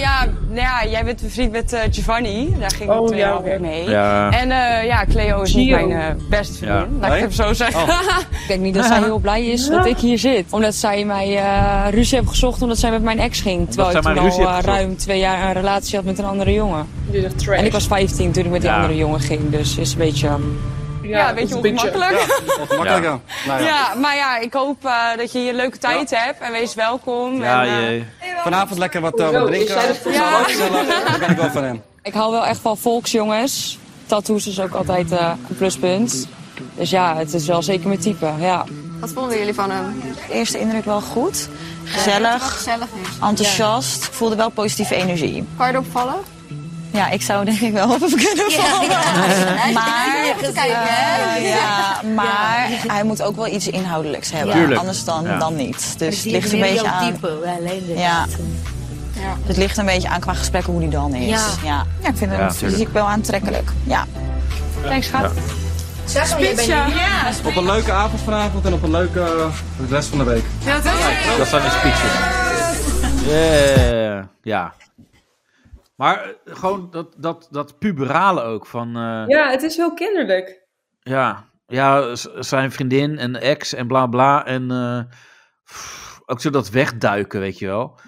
S20: ja, nou ja, jij bent bevriend met eh, Giovanni. Daar ging ik
S6: Oh,
S20: twee
S6: ja,
S20: jaar
S6: oké.
S20: ook mee.
S5: Ja.
S20: En eh, ja, Cleo is niet
S6: Gio.
S20: mijn eh, beste
S5: Ja.
S20: vriendin. Laat ik het
S5: Nee?
S20: even zo zeggen.
S5: Oh.
S20: ik denk niet dat zij heel blij is dat ik hier zit. Omdat zij mij eh, ruzie heeft gezocht omdat zij met mijn ex ging. Terwijl
S5: zij
S20: ik
S5: mij
S20: toen al
S5: ruzie heeft
S20: eh,
S5: gezocht.
S20: ruim twee jaar een relatie had met een andere jongen.
S6: Je zegt trash.
S20: En ik was 15 toen ik met die
S5: Ja.
S20: andere jongen ging. Dus is een beetje... eh, ja, een beetje ongemakkelijk.
S13: Makkelijk, ja.
S20: Ja. maar ja, ik hoop eh, dat je hier leuke tijd hebt en wees welkom. en, eh,
S13: Vanavond lekker wat, eh,
S20: Hoezo?
S13: wat
S20: Is zij de
S13: drinken.
S20: Ja.
S13: Gezellig. Daar ben ik wel van hem.
S20: Ik hou wel echt van volksjongens. Tattoos is ook altijd eh, een pluspunt. Dus ja, het is wel zeker mijn type, ja.
S9: Wat vonden jullie van hem?
S21: De eerste indruk wel goed.
S9: Gezellig.
S21: Gezellig. Enthousiast. Ik voelde wel positieve energie.
S9: Kan je erop vallen?
S21: Ja, ik zou denk ik wel op hem kunnen vallen. Maar, eh, ja, maar hij moet ook wel iets inhoudelijks hebben.
S5: Ja. Tuurlijk.
S21: Anders dan,
S5: Ja.
S21: dan niet. Dus het
S9: die
S21: ligt een
S9: meer
S21: beetje
S9: jouw
S21: aan... ja. Het ligt een beetje aan qua gesprekken hoe die dan is.
S9: Ja.
S21: Ja, ja. ik vind hem
S5: Ja, tuurlijk.
S21: fysiek wel aantrekkelijk. Ja. Thanks,
S5: Ja.
S21: Zeg maar, je bent
S9: Spitsja.
S21: niet-
S9: Ja.
S15: Op een leuke avond vanavond en op een leuke eh, rest van de week.
S5: Dat zijn de speeches. Yeah. Ja. Maar eh, gewoon dat, dat, dat puberale ook van. eh,
S6: Ja, het is heel kinderlijk.
S5: ja. ja, z- zijn vriendin en ex en bla bla. En eh, pff, ook zo dat wegduiken, weet je wel.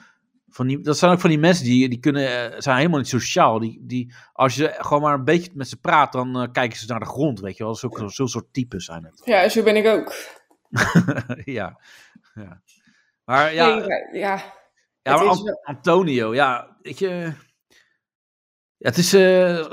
S5: Van die, dat zijn ook van die mensen die, die kunnen, eh, zijn helemaal niet sociaal. Die, die, als je gewoon maar een beetje met ze praat, dan eh, kijken ze naar de grond, weet je wel. Zulke, zulke soort types zijn het.
S6: Ja, zo ben ik ook.
S5: ja. ja. Maar ja,
S6: Nee, maar- ja.
S5: ja,
S6: Het
S5: maar
S6: is
S5: Ant-
S6: wel-
S5: Antonio, ja, weet je. Ja, het is eh,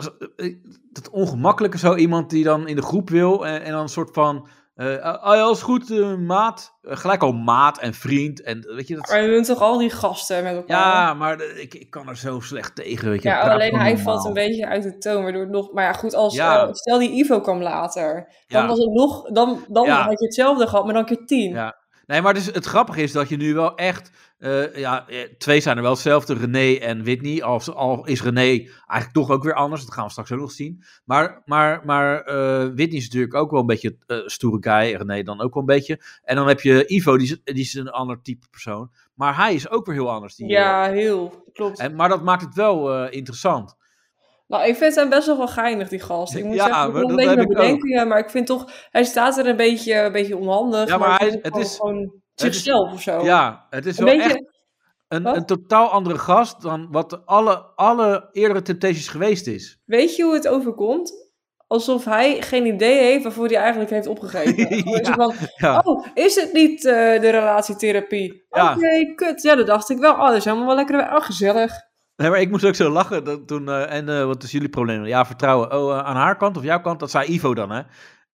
S5: dat ongemakkelijke zo iemand die dan in de groep wil en, en dan een soort van. eh oh ja, alles goed, eh, maat. Eh, gelijk al maat en vriend. En eh, weet je dat.
S6: Maar we doen toch al die gasten met elkaar?
S5: Ja, maar de- ik, ik kan er zo slecht tegen. Weet je,
S6: Ja,
S5: ik praat
S6: alleen
S5: gewoon
S6: hij
S5: normaal.
S6: valt een beetje uit de toon, waardoor het nog... Maar ja, goed, als,
S5: Ja.
S6: eh, stel die Ivo kwam later, dan
S5: Ja.
S6: was het nog... Dan, dan
S5: Ja.
S6: had je hetzelfde gehad, maar dan keer tien.
S5: Ja. Nee, maar het, is, het grappige is dat je nu wel echt. eh, ja, eh, twee zijn er wel hetzelfde, René en Whitney. Al, al is René eigenlijk toch ook weer anders. Dat gaan we straks ook nog zien. Maar, maar, maar eh, Whitney is natuurlijk ook wel een beetje eh stoere guy. en René dan ook wel een beetje. En dan heb je Ivo, die is, die is een ander type persoon. Maar hij is ook weer heel anders. Die,
S6: Ja, heel. Klopt.
S5: En, maar dat maakt het wel eh, interessant.
S6: Nou, ik vind hem best wel wel geinig, die gast. Ik moet
S5: Ja,
S6: zeggen, ik
S5: maar
S6: wil een
S5: dat
S6: beetje
S5: heb
S6: naar
S5: ik
S6: bedenken, ja, maar ik vind toch... Hij staat er een beetje, een beetje onhandig.
S5: Ja, maar hij-
S6: ik vind
S5: het
S6: gewoon-
S5: is-
S6: Gewoon
S5: het is-
S6: zichzelf of zo.
S5: Ja, het is
S6: Oh. Een
S5: wel
S6: beetje- Oh.
S5: echt een, een totaal andere gast dan wat alle, alle eerdere Temptations geweest is.
S6: Weet je hoe het overkomt? Alsof hij geen idee heeft waarvoor hij eigenlijk heeft opgegeven. Gewoon zo van,
S5: ja.
S6: Oh, is het niet eh, de relatietherapie?
S5: Ja.
S6: Oké, kut. Ja, dat dacht ik wel. Oh, dat is helemaal wel lekker. Oh, gezellig.
S5: Nee, maar ik moest ook zo lachen dat toen. eh, en eh, wat is jullie probleem? Ja, vertrouwen. Oh, eh, aan haar kant of jouw kant? Dat zei Ivo dan, hè?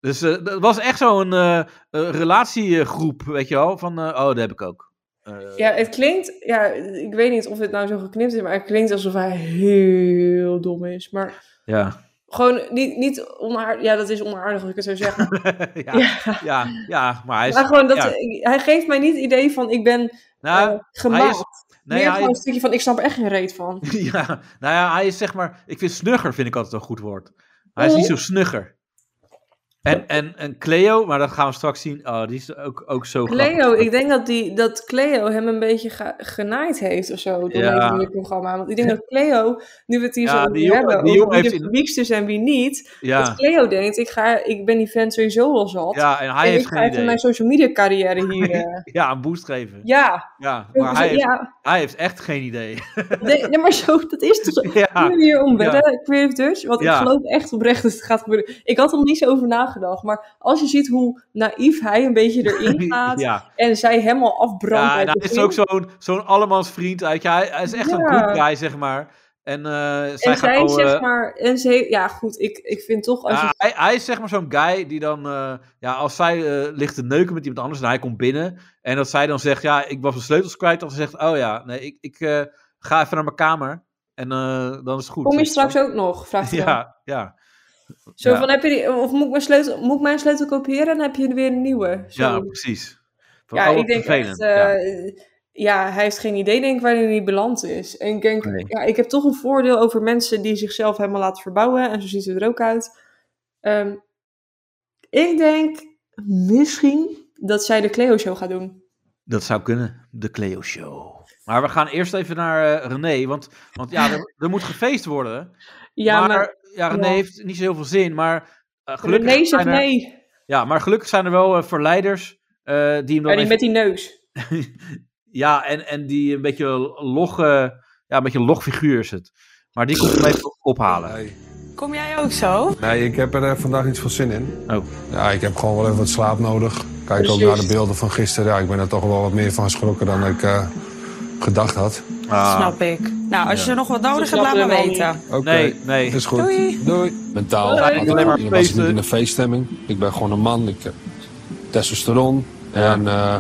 S5: Dus eh, dat was echt zo'n eh, eh, relatiegroep, weet je wel? Van, eh, oh, dat heb ik ook. Eh,
S6: Ja, het klinkt... Ja, ik weet niet of het nou zo geknipt is, maar het klinkt alsof hij heel dom is. Maar
S5: ja.
S6: gewoon niet, niet onaardig. Ja, dat is onaardig als ik het zo zeg. Maar,
S5: ja, ja. ja, maar hij is...
S6: maar gewoon, dat, eh,
S5: ja.
S6: ik- hij geeft mij niet het idee van ik ben
S5: Nou,
S6: eh, gemaakt.
S5: hij is- nee,
S6: Meer
S5: hij-
S6: gewoon een stukje van ik snap er echt geen reet van.
S5: ja, nou ja, hij is zeg maar... Ik vind snugger, vind ik altijd een goed woord. Hij is niet zo snugger. En, en, en Cleo, maar dat gaan we straks zien. Oh, die is ook, ook zo
S6: Cleo, ik denk dat, die, dat Cleo hem een beetje ga- genaaid heeft of zo. Door
S5: Ja.
S6: ja. het programma. Want ik denk dat Cleo, nu we het hier
S5: Ja,
S6: zo over
S5: die jongen-
S6: hebben,
S5: die
S6: over
S5: jongen
S6: wie
S5: heeft
S6: de wiekst is en wie niet.
S5: Ja.
S6: Dat Cleo denkt, ik, ga, ik ben die fan sowieso al zat.
S5: Ja, en hij heeft
S6: ik
S5: geen
S6: ga even
S5: idee.
S6: mijn social media carrière hier... eh,
S5: Ja, een boost geven.
S6: ja,
S5: Ja,
S6: Ik
S5: maar
S6: zei,
S5: hij heeft,
S6: ja.
S5: hij heeft echt geen idee.
S6: nee, nee, maar zo, dat is toch zo.
S5: Ja.
S6: Nu hier om
S5: Ja.
S6: wedden, Creative Dutch. Want
S5: Ja.
S6: ik geloof echt oprecht dat het gaat gebeuren. Ik had er niet zo over nagedacht. Maar als je ziet hoe naïef hij een beetje erin gaat.
S5: Ja.
S6: En zij hem al afbrandt.
S5: Ja,
S6: bij
S5: en
S6: het
S5: hij is
S6: begin.
S5: ook zo'n zo'n allemans vriend. Hij, hij, hij is echt een
S6: Ja.
S5: good guy, zeg maar. En, eh, zij
S6: En
S5: gaat
S6: zij
S5: al, eh,
S6: zeg maar, en ze, ja goed, ik, ik vind toch als
S5: ja,
S6: je...
S5: hij, hij is zeg maar zo'n guy die dan, eh, ja, als zij eh, ligt te neuken met iemand anders en hij komt binnen. En dat zij dan zegt, ja, ik was mijn sleutels kwijt. Dan zegt, oh ja, nee, ik, ik eh, ga even naar mijn kamer. En eh, dan is het goed.
S6: Kom je
S5: Zegt ze
S6: straks
S5: dan.
S6: ook nog? Vraagt hij dan.
S5: Ja, ja.
S6: Zo
S5: Ja.
S6: van, heb je die, of moet ik, mijn sleutel, moet ik mijn sleutel kopiëren en heb je weer een nieuwe? Zo.
S5: Ja, precies. Van,
S6: Ja,
S5: oh, wat
S6: ik denk
S5: vervelend.
S6: echt, eh, ja. hij heeft geen idee denk ik waar hij niet beland is. En ik denk,
S5: Nee.
S6: ja, ik heb toch een voordeel over mensen die zichzelf helemaal laten verbouwen. En zo ziet het er ook uit. Ehm, ik denk misschien dat zij de Cleo show gaat doen.
S5: Dat zou kunnen, de Cleo Show. Maar we gaan eerst even naar eh, René, want, want ja, er, er moet gefeest worden.
S6: Ja,
S5: maar,
S6: maar-
S5: ja, René
S6: ja.
S5: heeft niet zo heel veel zin, maar eh, gelukkig
S6: René
S5: zijn
S6: zegt
S5: er,
S6: nee.
S5: Ja, maar gelukkig zijn er wel eh, verleiders eh, die hem dan
S6: Maar die
S5: even-
S6: met die neus.
S5: Ja, en, en die een beetje logge, ja, een beetje log figuur is het. Maar die komt hem even ophalen.
S21: Kom jij ook zo?
S11: Nee, ik heb er eh, vandaag iets van zin in.
S5: Oh.
S11: Ja, ik heb gewoon wel even wat slaap nodig. Kijk
S21: Precies.
S11: ook naar de beelden van gisteren. Ja, ik ben er toch wel wat meer van geschrokken dan ik eh, gedacht had.
S21: Snap ik. Nou, als je nog wat nodig Ze hebt, laat me snappen hem al weten. niet.
S11: Oké, nee. is goed.
S21: Doei.
S11: Mentaal
S21: Doei.
S11: ga ik
S21: Doei.
S11: alleen maar
S21: Doei.
S11: Ik was niet in een feeststemming. Ik ben gewoon een man. Ik heb testosteron. En eh,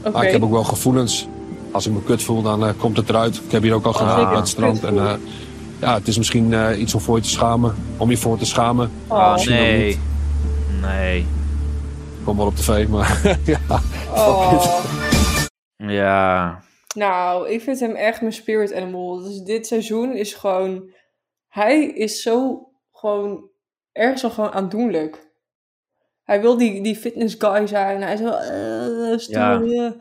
S6: Oké.
S11: maar ik heb ook wel gevoelens. Als ik me kut voel, dan eh, komt het eruit. Ik heb hier ook al
S6: ik
S11: gedaan
S6: me
S11: aan het strand.
S6: kut
S11: En, eh, ja, het is misschien eh, iets om voor je te schamen. Om je voor te schamen.
S6: Oh.
S11: Misschien ook
S5: Ah, Nee.
S11: niet.
S5: Nee.
S11: Kom wel op tv, maar ja.
S6: Oh.
S5: Ja,
S6: Nou, ik vind hem echt mijn spirit animal. Dus dit seizoen is gewoon... Hij is zo gewoon... Ergens al gewoon aandoenlijk. Hij wil die, die fitness guy zijn. Hij is wel... eh, stoer,
S5: Ja.
S6: eh.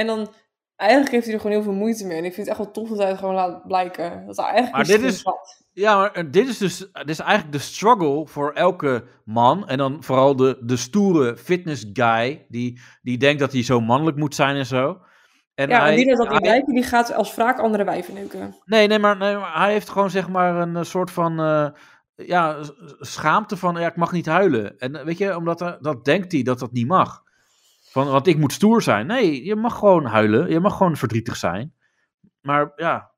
S6: En dan... eigenlijk heeft hij er gewoon heel veel moeite mee. En ik vind het echt wel tof dat hij het gewoon laat blijken. Dat hij eigenlijk
S5: Maar dit
S6: misschien
S5: is, ja, maar dit is dus dit is eigenlijk de struggle voor elke man. En dan vooral de, de stoere fitness guy. Die, die denkt dat hij zo mannelijk moet zijn en zo. En
S6: ja, maar die dat
S5: hij-
S6: niet lijken, die gaat als wraak andere wijven neuken.
S5: Nee, nee, maar, nee, maar hij heeft gewoon zeg maar een eh, soort van eh, ja, s- schaamte van ja, ik mag niet huilen. En eh, weet je, omdat eh, dat denkt hij dat dat niet mag. Van, want ik moet stoer zijn. Nee, je mag gewoon huilen. Je mag gewoon verdrietig zijn. Maar ja,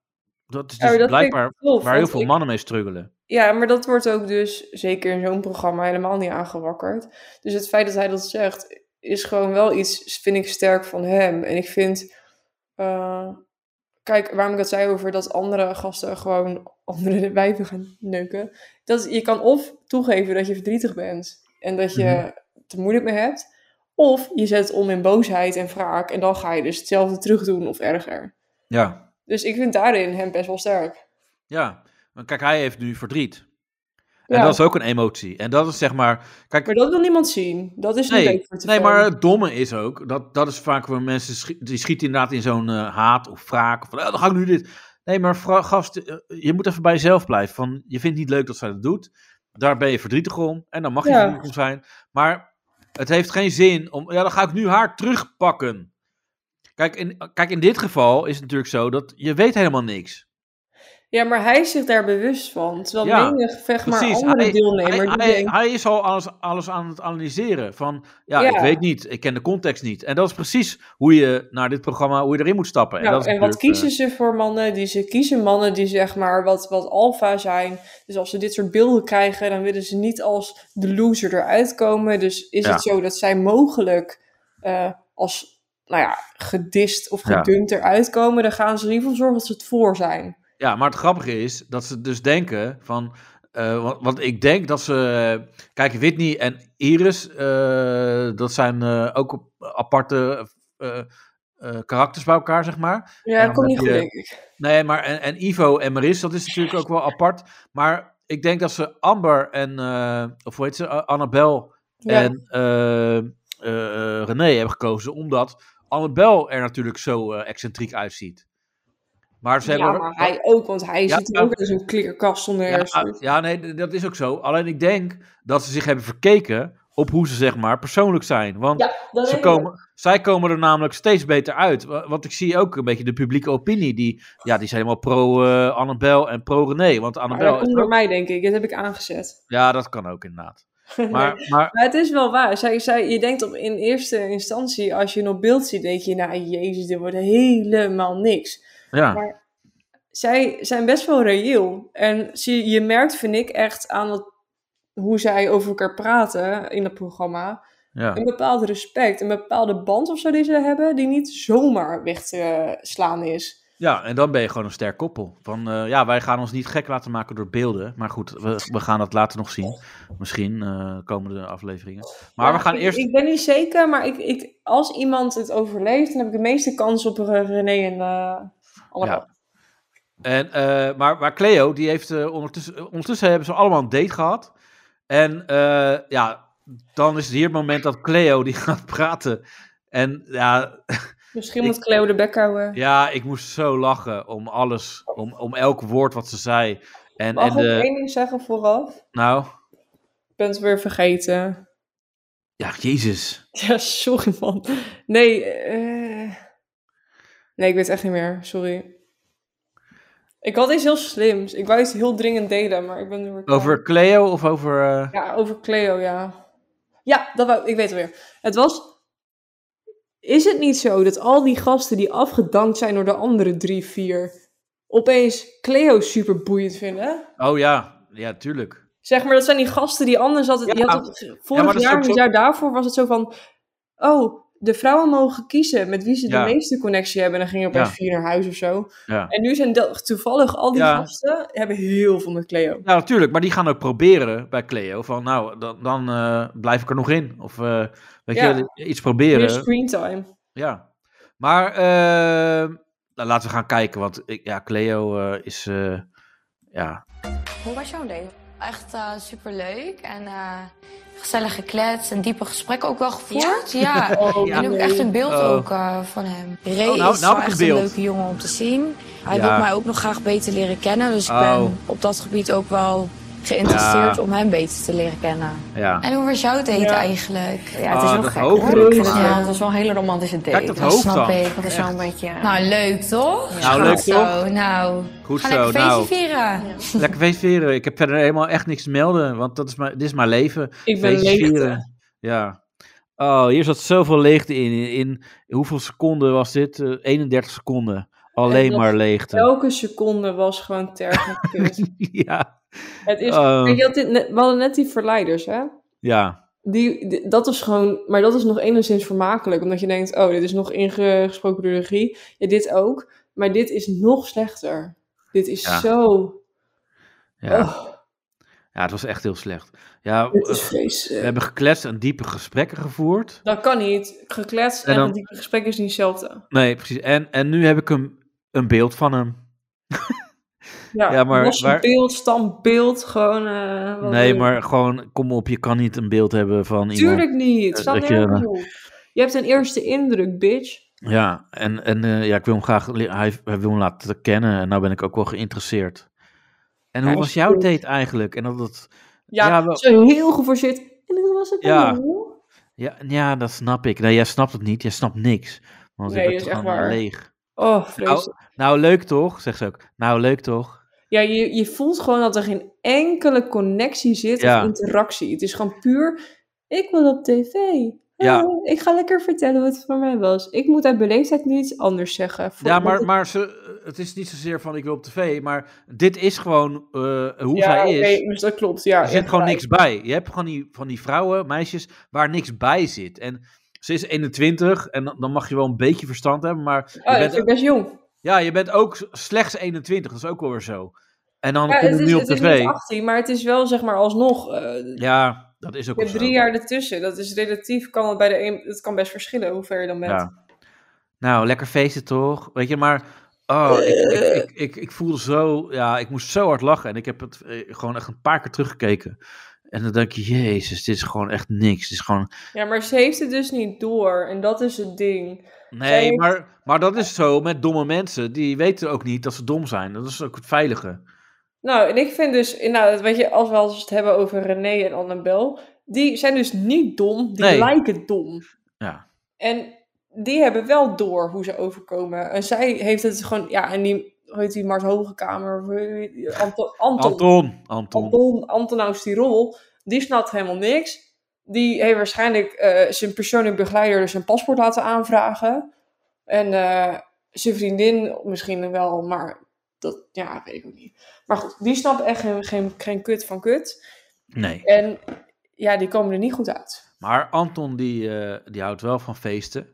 S5: dat is
S6: Ja,
S5: dus
S6: maar dat vind ik
S5: blijkbaar
S6: tof,
S5: waar heel
S6: want
S5: veel
S6: ik-
S5: mannen mee struggelen.
S6: Ja, maar dat wordt ook dus, zeker in zo'n programma, helemaal niet aangewakkerd. Dus het feit dat hij dat zegt, is gewoon wel iets, vind ik sterk van hem. En ik vind, eh, kijk, waarom ik dat zei over dat andere gasten gewoon andere wijven gaan neuken. Dat, je kan of toegeven dat je verdrietig bent en dat je
S22: Mhm.
S6: het er moeilijk mee hebt. Of je zet het om in boosheid en wraak en dan ga je dus hetzelfde terug doen of erger.
S5: Ja,
S6: Dus ik vind daarin hem best wel sterk.
S5: Ja, want kijk, hij heeft nu verdriet. En
S6: Ja.
S5: dat is ook een emotie. En dat is zeg maar. Kijk,
S6: Maar dat wil niemand zien. Dat is niet
S5: nee,
S6: leuk voor tv.
S5: nee, maar eh, het domme is ook. Dat, dat is vaak waar mensen schi- die schieten inderdaad in zo'n eh, haat of wraak. Of van, "Oh, dan ga ik nu dit. Nee, maar vra- gast, eh, je moet even bij jezelf blijven. Van, je vindt niet leuk dat zij dat doet. Daar ben je verdrietig om. En dan mag je
S6: Ja.
S5: verdrietig om zijn. Maar het heeft geen zin om. Ja, dan ga ik nu haar terugpakken. Kijk in, kijk, in dit geval is het natuurlijk zo dat je weet helemaal niks.
S6: Ja, maar hij is zich daar bewust van. Terwijl
S5: Ja,
S6: menig, zeg maar,
S5: precies.
S6: andere
S5: Hij-
S6: deelnemer
S5: Hij,
S6: die
S5: hij-
S6: denkt...
S5: hij is al alles, alles aan het analyseren. Van ja,
S6: Ja.
S5: ik weet niet, ik ken de context niet. En dat is precies hoe je naar dit programma, hoe je erin moet stappen.
S6: Nou,
S5: dat is
S6: en wat
S5: natuurlijk, eh,
S6: kiezen ze voor mannen? Die ze kiezen mannen die zeg maar wat, wat alfa zijn. Dus als ze dit soort beelden krijgen, dan willen ze niet als de loser eruit komen. Dus is
S5: Ja.
S6: het zo dat zij mogelijk eh, als, nou ja, gedist of
S5: Ja.
S6: gedumpt eruit komen? Dan gaan ze in ieder geval zorgen dat ze het voor zijn.
S5: eh, Ja, maar het grappige is dat ze dus denken van. eh, want, want ik denk dat ze. Kijk, Whitney en Iris, eh, dat zijn eh, ook op- aparte eh, eh, karakters bij elkaar, zeg maar. eh,
S6: Ja,
S5: En dan
S6: dat komt niet
S5: heb
S6: goed,
S5: je-
S6: denk ik.
S5: Nee, maar en, en Ivo en Maris, dat is natuurlijk ook wel apart. Maar ik denk dat ze Amber en, eh, of hoe heet ze, A- Annabel
S6: Ja.
S5: en eh, eh, eh, René hebben gekozen. Omdat Annabel er natuurlijk zo eh, excentriek uitziet. Maar ze
S6: Ja,
S5: hebben...
S6: maar hij ook, want hij
S5: Ja,
S6: zit er ook in zo'n klikkerkast zonder
S5: ja,
S6: hersenen.
S5: ja, nee, d- dat is ook zo. Alleen ik denk dat ze zich hebben verkeken op hoe ze zeg maar persoonlijk zijn. Want
S6: Ja, dat
S5: ze
S6: weet
S5: komen, zij komen er namelijk steeds beter uit. Wa- Want ik zie ook een beetje de publieke opinie. Die, ja, die zijn helemaal pro eh, Annabel en pro René. Want
S6: Maar dat
S5: Annabel is
S6: komt door
S5: ook-
S6: mij, denk ik. Dat heb ik aangezet.
S5: Ja, dat kan ook inderdaad.
S6: Nee.
S5: Maar, maar
S6: Maar het is wel waar. Zij, zij, je denkt op, in eerste instantie, als je een op beeld ziet, denk je, nou jezus, dit wordt helemaal niks.
S5: ja,
S6: Maar zij zijn best wel reëel. En zie, je merkt, vind ik, echt aan wat, hoe zij over elkaar praten in het programma.
S5: ja.
S6: Een bepaald respect, een bepaalde band of zo die ze hebben, die niet zomaar weg te slaan is.
S5: ja, en dan ben je gewoon een sterk koppel. Van eh, ja, wij gaan ons niet gek laten maken door beelden. Maar goed, we, we gaan dat later nog zien. Misschien eh, komende afleveringen. Maar
S6: Ja,
S5: we gaan
S6: ik,
S5: eerst.
S6: Ik ben niet zeker, maar ik, ik, als iemand het overleeft, dan heb ik de meeste kans op eh, René en eh allemaal.
S5: Ja. En, eh, maar, maar Cleo, die heeft eh, ondertussen, eh, ondertussen hebben ze allemaal een date gehad. En eh, ja, dan is het hier het moment dat Cleo die gaat praten. En ja,
S6: Misschien
S5: Ik-
S6: moet Cleo de bek houden.
S5: ja ik moest zo lachen om alles, om, om elk woord wat ze zei. En,
S6: Mag
S5: en eh,
S6: ik nog één
S5: de,
S6: ding zeggen vooraf?
S5: nou,
S6: Ik ben het weer vergeten.
S5: ja, Jezus.
S6: Ja, sorry man. Nee, eh, nee, ik weet het echt niet meer. Sorry. Ik had iets heel slims. Ik wou iets heel dringend delen, maar ik ben er weer kwijt.
S5: Over Cleo of over... eh,
S6: Ja, over Cleo, ja. Ja, dat wou, ik weet het weer. Het was... Is het niet zo dat al die gasten die afgedankt zijn door de andere drie, vier... opeens Cleo super boeiend vinden?
S5: Oh ja, ja, tuurlijk.
S6: Zeg maar, dat zijn die gasten die anders altijd... je had het-
S5: maar
S6: vorig
S5: dat is
S6: jaar,
S5: ook
S6: het
S5: zo-
S6: jaar daarvoor was het zo van... Oh, de vrouwen mogen kiezen met wie ze
S5: Ja.
S6: de meeste connectie hebben. En dan gingen opeens
S5: Ja.
S6: vier naar huis of zo.
S5: Ja.
S6: En nu zijn dat, toevallig al die
S5: Ja.
S6: gasten... hebben heel veel met Cleo.
S5: Ja, Nou, natuurlijk. Maar die gaan ook proberen bij Cleo. Van nou, dan, dan eh, blijf ik er nog in. Of eh, weet
S6: Ja.
S5: je, iets
S6: Meer
S5: proberen.
S6: screentime.
S5: Ja. Maar eh, nou, laten we gaan kijken. Want ik, ja, Cleo eh, is. eh, ja.
S9: Hoe was jouw date? Echt eh, superleuk en eh, gezellig gekletst en diepe gesprekken ook wel gevoerd.
S21: Ja?
S9: Ja,
S21: Oh,
S9: en ook
S21: nee.
S9: echt een beeld
S21: Oh.
S9: ook eh, van hem. Ray
S21: Oh, nou-
S9: is
S21: nou
S9: wel
S21: heb ik
S9: echt
S21: een
S9: een
S21: beeld.
S9: leuke jongen om te zien. Hij
S21: Ja.
S9: wil mij ook nog graag beter leren kennen, dus ik
S5: Oh.
S9: ben op dat gebied ook wel geïnteresseerd
S5: Ja.
S9: om hem beter te leren kennen.
S5: Ja.
S9: En hoe was jouw date eigenlijk?
S5: Ja, het is Ah, wel dat gek, hoog hoor.
S9: Ik vind het
S5: hoog.
S9: wel- het was wel een hele romantische date.
S5: Kijk dat hoog
S9: snap
S5: dan.
S9: ik. Dat is wel een beetje... Nou, leuk toch?
S5: Ja. Nou, leuk
S9: Goed Zo,
S5: toch?
S9: nou,
S5: Goed
S9: ga
S5: zo,
S9: lekker feestje
S5: nou.
S9: vieren.
S5: Lekker feest vieren. Ik heb verder helemaal echt niks te melden, want dat is mijn, dit is mijn leven.
S6: Ik ben
S5: Feestjes
S6: leegte.
S5: vieren. Ja. Oh, hier zat zoveel leegte in. in. in hoeveel seconden was dit? Eh, 31 seconden. Alleen
S6: En dat-
S5: maar leegte.
S6: Elke seconde was gewoon tergend kut.
S5: ja.
S6: Het is,
S5: Oh.
S6: kijk, je had dit net- we hadden net die verleiders, hè?
S5: Ja.
S6: Die, die- dat is gewoon, maar dat is nog enigszins vermakelijk, omdat je denkt, oh, dit is nog ingesproken door de regie. Ja, dit ook, maar dit is nog slechter. Dit is
S5: Ja.
S6: zo...
S5: Ja.
S6: Oh.
S5: ja, het was echt heel slecht. Ja,
S6: Het is
S5: eh,
S6: vreselijk.
S5: we hebben gekletst en diepe gesprekken gevoerd.
S6: Dat kan niet. Gekletst en,
S5: En dan-
S6: die gesprek is niet hetzelfde.
S5: Nee, precies. En, en nu heb ik een, een beeld van hem.
S6: Ja,
S5: Ja, maar
S6: los
S5: waar-
S6: beeld, standbeeld, gewoon... eh, wat wil
S5: Nee,
S6: je?
S5: maar gewoon, kom op, je kan niet een beeld hebben van iemand.
S6: Tuurlijk niet.
S5: Eh,
S6: Staat
S5: dat je-
S6: nergens op. Je hebt een eerste indruk, bitch.
S5: Ja, en, en eh, ja, ik wil hem graag le- hij, hij wil hem laten kennen en nou ben ik ook wel geïnteresseerd. En hoe
S6: Ja,
S5: was
S6: is
S5: jouw
S6: goed.
S5: date eigenlijk? En dat, dat,
S6: Ja,
S5: wel-
S6: zo heel geforceerd. En dat was het
S5: Ja.
S6: dan wel.
S5: ja, ja, dat snap ik. Nee, jij snapt het niet, jij snapt niks. Want
S6: Nee,
S5: ik ben
S6: dat is
S5: toch
S6: echt
S5: gewoon
S6: waar.
S5: leeg.
S6: Oh,
S5: Nou,
S6: vreselijk.
S5: nou, leuk toch? Zegt ze ook. Nou, leuk toch?
S6: Ja, je, je voelt gewoon dat er geen enkele connectie zit
S5: Ja.
S6: of interactie. Het is gewoon puur, ik wil op tv.
S5: Ja.
S6: Oh, ik ga lekker vertellen wat het voor mij was. Ik moet uit beleefdheid nu iets anders zeggen. Voor-
S5: Ja, maar,
S6: want-
S5: maar ze, het is niet zozeer van ik wil op tv, maar dit is gewoon eh, hoe
S6: Ja,
S5: zij is.
S6: oké, dus dat klopt. Ja,
S5: er zit
S6: ja,
S5: gewoon
S6: ja.
S5: niks bij. Je hebt gewoon die, van die vrouwen, meisjes, waar niks bij zit. En ze is 21 en dan- dan mag je wel een beetje verstand hebben, maar... je
S6: Oh, dat vind ik best jong.
S5: Ja, je bent ook s- slechts 21, dat is ook wel weer zo. En dan
S6: Ja,
S5: komt het
S6: het is,
S5: nu op
S6: het is niet
S5: tv.
S6: 18, maar het is wel zeg maar alsnog... eh,
S5: Ja, dat is ook wel
S6: je hebt
S5: zo.
S6: drie jaar ertussen. Dat is relatief, kan het, bij de een, het kan best verschillen hoe ver je dan bent.
S5: Ja. Nou, lekker feesten toch? Weet je, maar. Oh, ik, ik, ik, ik, ik voelde zo. Ja, ik moest zo hard lachen. En ik heb het eh, gewoon echt een paar keer teruggekeken. En dan denk je, Jezus, dit is gewoon echt niks. Dit is gewoon.
S6: Ja, maar ze heeft het dus niet door. En dat is het ding. Zij
S5: Nee,
S6: heeft-
S5: maar, maar dat is zo met domme mensen. Die weten ook niet dat ze dom zijn. Dat is ook het veilige.
S6: Nou, en ik vind dus, nou, weet je, als we als we het hebben over René en Annabel, die zijn dus niet dom, die
S5: Nee.
S6: lijken dom.
S5: Ja.
S6: En die hebben wel door hoe ze overkomen. En zij heeft het gewoon, ja, en die, hoe heet die, Mart Hogekamer, of hoe heet die, Anton, Anton,
S5: Anton. Anton.
S6: Anton, Antonaus Tirol, die snapt helemaal niks. Die heeft waarschijnlijk eh, zijn persoonlijk begeleider zijn paspoort laten aanvragen. En eh, zijn vriendin misschien wel, maar dat ja, weet ik ook niet. Maar goed, die snapt echt geen, geen, geen kut van kut.
S5: Nee.
S6: En ja, die komen er niet goed uit.
S5: Maar Anton, die, eh, die houdt wel van feesten.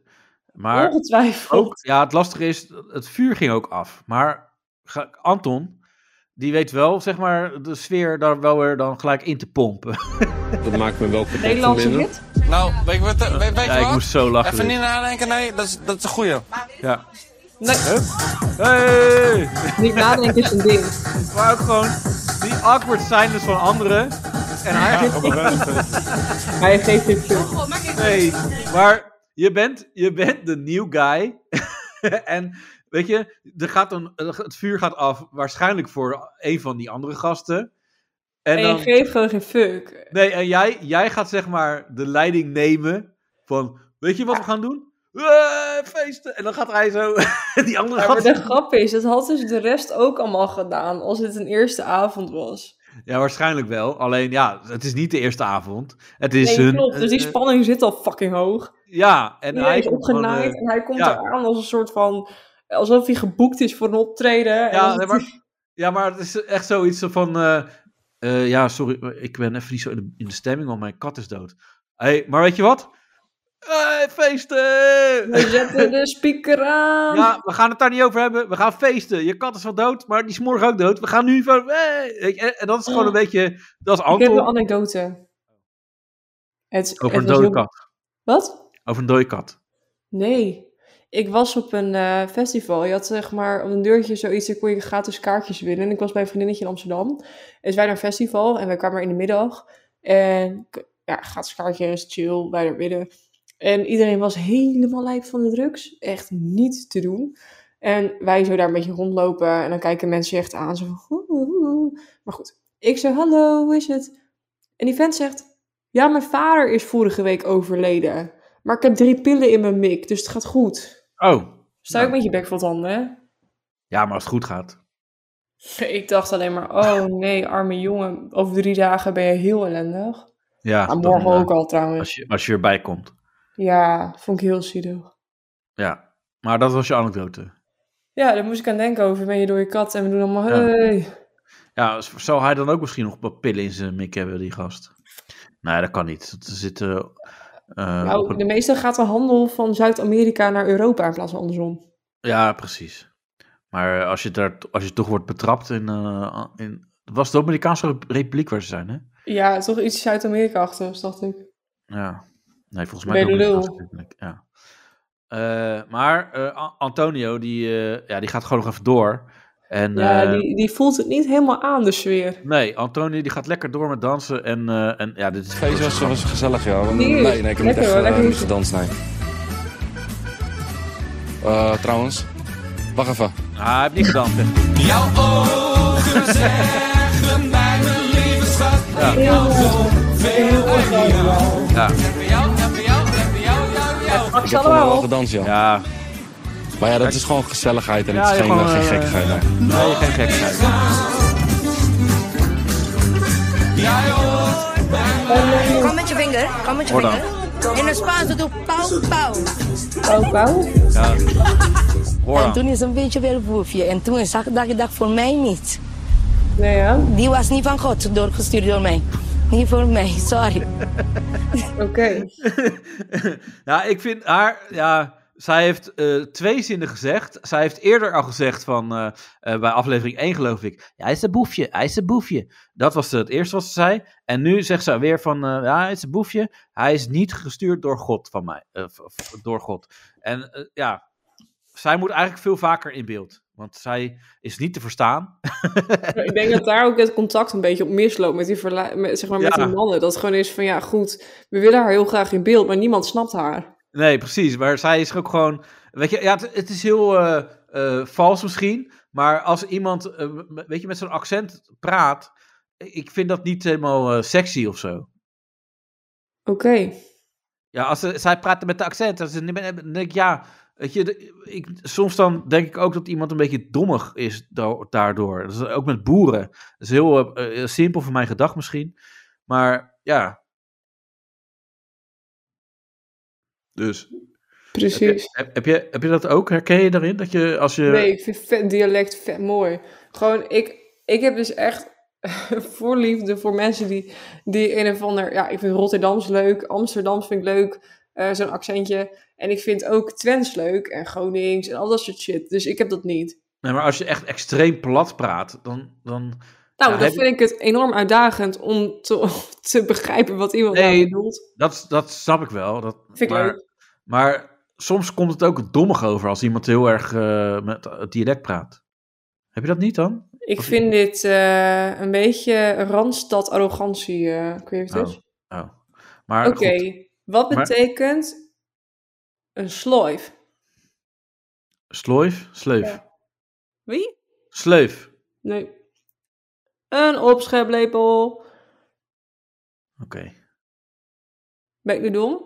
S5: Maar
S6: Ongetwijfeld.
S5: Ook, ja, het lastige is, het vuur ging ook af. Maar ga- Anton, die weet wel, zeg maar, de sfeer daar wel weer dan gelijk in te pompen.
S1: Dat maakt me wel kapot
S5: Nederlandse
S1: van binnen.
S5: hit?
S1: Nou, weet je wat?
S16: eh,
S1: Weet, weet
S5: Ja,
S1: je
S5: ik
S1: wat?
S5: moest zo lachen
S1: Even
S5: dit.
S1: niet nadenken, nee, dat is, dat is een goeie.
S5: Ja.
S6: Nee.
S5: Hey!
S6: Niet nadenken is een ding.
S5: Maar ook gewoon die awkward silence van anderen. En hij...
S6: Hij geeft dit
S5: Nee, maar je bent, je bent de new guy. en weet je, er gaat een, het vuur gaat af waarschijnlijk voor een van die andere gasten.
S6: En,
S5: En dan,
S6: je geeft gewoon geen fuck.
S5: nee, en jij, jij gaat zeg maar de leiding nemen van, weet je wat we gaan doen? Eh, feesten! En dan gaat hij zo die andere
S6: Ja, maar
S5: gast...
S6: de grap is, dat had dus de rest ook allemaal gedaan als het een eerste avond was.
S5: Ja, waarschijnlijk wel. Alleen ja, het is niet de eerste avond. Het is
S6: nee,
S5: een...
S6: klopt. Dus die
S5: eh,
S6: spanning zit al fucking hoog.
S5: Ja, en
S6: Iedereen
S5: hij
S6: is
S5: komt gewoon,
S6: opgenaaid
S5: eh,
S6: en hij komt
S5: ja.
S6: eraan als een soort van... Alsof hij geboekt is voor een optreden. En
S5: Ja,
S6: als
S5: nee,
S6: het-
S5: maar, ja, maar het is echt zoiets van... eh, eh, ja, sorry, maar ik ben even niet zo in de, in de stemming, want mijn kat is dood. Hey, maar weet je wat? Hey, feesten!
S6: We zetten de speaker aan.
S5: Ja, we gaan het daar niet over hebben. We gaan feesten. Je kat is wel dood, maar die is morgen ook dood. We gaan nu van... hey, weet je, en dat is gewoon een beetje... Dat is
S6: Oh. Ik heb een
S5: Anton
S6: anekdote. Het,
S5: over
S6: het
S5: een
S6: was
S5: dode
S6: heel-
S5: kat.
S6: Wat?
S5: Over een dode kat.
S6: Nee. Ik was op een eh, festival. Je had zeg maar op een deurtje zoiets, daar kon je gratis kaartjes winnen. En ik was bij een vriendinnetje in Amsterdam. Dus wij naar een festival en wij kwamen er in de middag. En k- ja, gratis kaartje is chill, wij naar binnen. En iedereen was helemaal lijp van de drugs. Echt niet te doen. En wij zo daar een beetje rondlopen. En dan kijken mensen je echt aan. Zo van, "Oeh, oeh, oeh." Maar goed, ik zeg, hallo, hoe is het? En die vent zegt, ja, mijn vader is vorige week overleden. Maar ik heb drie pillen in mijn mik, dus het gaat goed.
S5: Oh,
S6: Sta ik met je bek vol tanden, hè?
S5: ja, maar als het goed gaat.
S6: Ik dacht alleen maar, oh nee, arme jongen. Over drie dagen ben je heel ellendig.
S5: Ja,
S6: Ah,
S5: dan,
S6: morgen
S5: eh,
S6: ook al trouwens.
S5: Als je, als je erbij komt.
S6: Ja, vond ik heel zielig.
S5: Ja, maar dat was je anekdote.
S6: Ja, daar moest ik aan denken over. Ben je door je kat en we doen allemaal,
S5: Ja.
S6: hey.
S5: Ja, z- zou hij dan ook misschien nog wat pillen in zijn mik hebben, die gast? Nee, dat kan niet. Er zitten... eh, op
S6: Nou,
S5: een-
S6: de meeste gaat de handel van Zuid-Amerika naar Europa in plaats van andersom.
S5: Ja, precies. Maar als je, daar, als je toch wordt betrapt in... eh, in was het Dominicaanse Republiek waar ze zijn, hè?
S6: Ja, toch iets Zuid-Amerika-achtigs, dacht ik.
S5: Ja. Nee, volgens mij
S6: Ben je de
S5: Dominicaanse
S6: lul?
S5: Republiek, Ja. Eh, maar eh, A- Antonio, die, eh, ja, die gaat gewoon nog even door. En,
S6: Ja,
S5: eh,
S6: die, die voelt het niet helemaal aan, de sfeer.
S5: Nee, Antonio die gaat lekker door met dansen. En, eh, en ja, dit is...
S13: Feest was, was gezellig, ja. Nee,
S6: Heerlijk.
S13: nee, ik heb niet
S6: Lekker
S13: echt
S6: hoor,
S13: eh,
S6: lekker.
S13: niet gedanst, nee. Eh, trouwens, wacht even.
S5: Ah, hij heeft niet gedanst, hè.
S7: Jouw ogen zeggen mij, mijn lieve schat.
S5: Ja.
S7: Ik hou zo veel van jou.
S5: Ja.
S7: Bij jou, ja, bij jou, ja, bij jou, jou, jou.
S13: Ik heb gewoon wel gedanst, ja.
S5: Ja.
S13: Maar ja, dat is gewoon gezelligheid en
S7: Ja,
S13: het is
S7: je
S13: geen,
S7: gewoon,
S13: eh, geen
S7: eh,
S13: gekkigheid. nee.
S5: Nee, geen gekheid.
S7: Jij hoort
S9: Kom met je vinger, kom met je
S5: Hoor dan.
S9: vinger. In het Spaans doe pauw, pauw.
S6: Pauw, pauw?
S5: Ja.
S9: En
S5: Hoor
S9: toen
S5: dan.
S9: is een beetje wel boefje. En toen zag ik dat ik dacht, voor mij niet.
S6: Nee, ja?
S9: Die was niet van God doorgestuurd door mij. Niet voor mij, sorry.
S6: Oké.
S5: Ja, Nou, ik vind haar... Ja, zij heeft eh, twee zinnen gezegd. Zij heeft eerder al gezegd van... eh, eh, bij aflevering 1 geloof ik... Ja, hij is een boefje, hij is een boefje. Dat was het eerste wat ze zei. En nu zegt zij weer van... eh, ja, hij is een boefje. Hij is niet gestuurd door God van mij. eh, v- v- door God. En eh, ja... Zij moet eigenlijk veel vaker in beeld. Want zij is niet te verstaan.
S6: Maar ik denk dat daar ook het contact een beetje op misloopt met die, verla- met, zeg maar, met
S5: Ja.
S6: die mannen. Dat het gewoon is van, ja goed, we willen haar heel graag in beeld, maar niemand snapt haar.
S5: Nee, precies. Maar zij is ook gewoon. Weet je, ja, het, het is heel eh, eh, vals misschien. Maar als iemand, eh, m- weet je, met zo'n accent praat. Ik vind dat niet helemaal eh, sexy of zo.
S6: Oké.
S5: Ja, als ze, zij praten met de accent. Dan ze- dan denk ik, ja. Weet je, de- ik, soms dan denk ik ook dat iemand een beetje dommig is da- daardoor. Dat is ook met boeren. Dat is heel eh, eh, simpel voor mijn gedacht misschien. Maar ja. Dus.
S6: Precies.
S5: Heb je, heb, heb je, heb je dat ook? Herken je daarin? Dat je als je.
S6: Nee, ik vind vet dialect vet mooi. Gewoon, ik, ik heb dus echt voorliefde voor mensen die, die een of ander... Ja, ik vind Rotterdams leuk, Amsterdams vind ik leuk, eh, zo'n accentje. En ik vind ook Twents leuk en Gronings en al dat soort shit. Dus ik heb dat niet.
S5: Nee, maar als je echt extreem plat praat, dan. dan ja,
S6: Nou, dan
S5: heb-
S6: vind ik het enorm uitdagend om te, te begrijpen wat iemand nou
S5: Nee.
S6: bedoelt.
S5: dat, dat snap ik wel. Dat,
S6: Vind ik
S5: maar,
S6: leuk.
S5: Maar soms komt het ook dommig over als iemand heel erg eh, met het dialect praat. Heb je dat niet dan?
S6: Ik vind dit eh, een beetje Randstad-arrogantie. eh, ik weet niet wat het
S5: Oh,
S6: is.
S5: oh. Maar
S6: Oké,
S5: goed,
S6: wat
S5: Maar-
S6: betekent een sloif?
S5: Sloif? Sleuf?
S6: Ja. Wie?
S5: Sleuf.
S6: Nee. Een opscheplepel.
S5: Oké.
S6: Ben ik nu dom?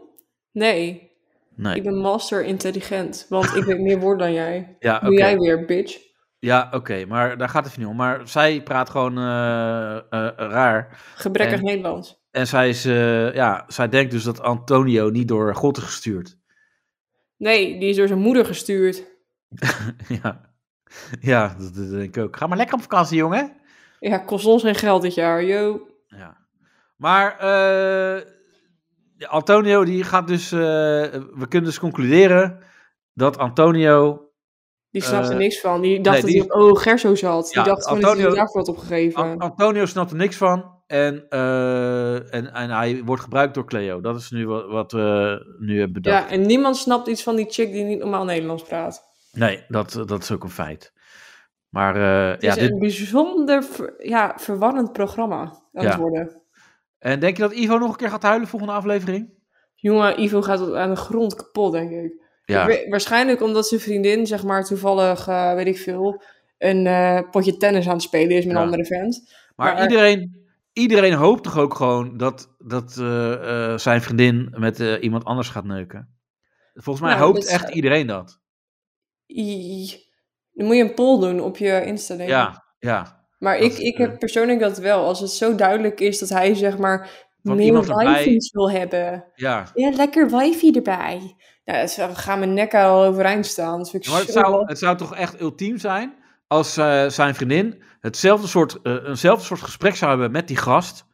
S6: Nee.
S5: Nee.
S6: Ik ben master intelligent, want ik weet meer woord dan jij.
S5: Ja,
S6: Doe
S5: oké.
S6: jij weer, bitch.
S5: Ja, oké, maar daar gaat het niet om. Maar zij praat gewoon eh, eh, raar.
S6: Gebrekkig
S5: En-
S6: Nederlands.
S5: En zij, is, eh, ja, zij denkt dus dat Antonio niet door God is gestuurd.
S6: Nee, die is door zijn moeder gestuurd.
S5: ja. ja, dat, dat denk ik ook. Ga maar lekker op vakantie, jongen.
S6: Ja, kost ons geen geld dit jaar, yo.
S5: Ja. Maar eh, Antonio die gaat dus... eh, we kunnen dus concluderen dat Antonio...
S6: Die snapte
S5: eh,
S6: niks van. Die
S5: nee,
S6: dacht dat hij op Oh Gerso zat.
S5: Ja,
S6: die dacht gewoon dat hij
S5: Antonio-
S6: daarvoor had opgegeven.
S5: Antonio snapt er niks van. En, eh, en, en hij wordt gebruikt door Cleo. Dat is nu wat, wat we nu hebben bedacht.
S6: Ja, en niemand snapt iets van die chick die niet normaal Nederlands praat.
S5: Nee, dat, dat is ook een feit. Maar eh,
S6: Het
S5: ja,
S6: is
S5: dit,
S6: een bijzonder ver- ja, verwarrend programma aan
S5: Ja.
S6: het worden.
S5: en denk je dat Ivo nog een keer gaat huilen volgende aflevering?
S6: Jongen, Ivo gaat tot aan de grond kapot, denk ik.
S5: Ja.
S6: Wa- Waarschijnlijk omdat zijn vriendin, zeg maar, toevallig, eh, weet ik veel, een eh, potje tennis aan het spelen is met
S5: Ja.
S6: een andere vent.
S5: Maar iedereen, iedereen hoopt toch ook gewoon dat, dat eh, eh, zijn vriendin met eh, iemand anders gaat neuken? Volgens mij
S6: Nou,
S5: hoopt
S6: dat is-
S5: echt iedereen dat.
S6: I- Dan moet je een poll doen op je Insta, denk ik.
S5: Ja, ja.
S6: Maar ik, ik heb persoonlijk dat wel. Als het zo duidelijk is dat hij, zeg maar,
S5: Van
S6: meer
S5: iemand erbij.
S6: wifi's wil hebben.
S5: ja.
S6: Ja, lekker wifi erbij. Nou, dat zou- gaan mijn nek al overeind staan. Dat vind ik
S5: Maar het
S6: zo
S5: zou, het zou toch echt ultiem zijn als eh, zijn vriendin hetzelfde soort, eh, eenzelfde soort gesprek zou hebben met die gast.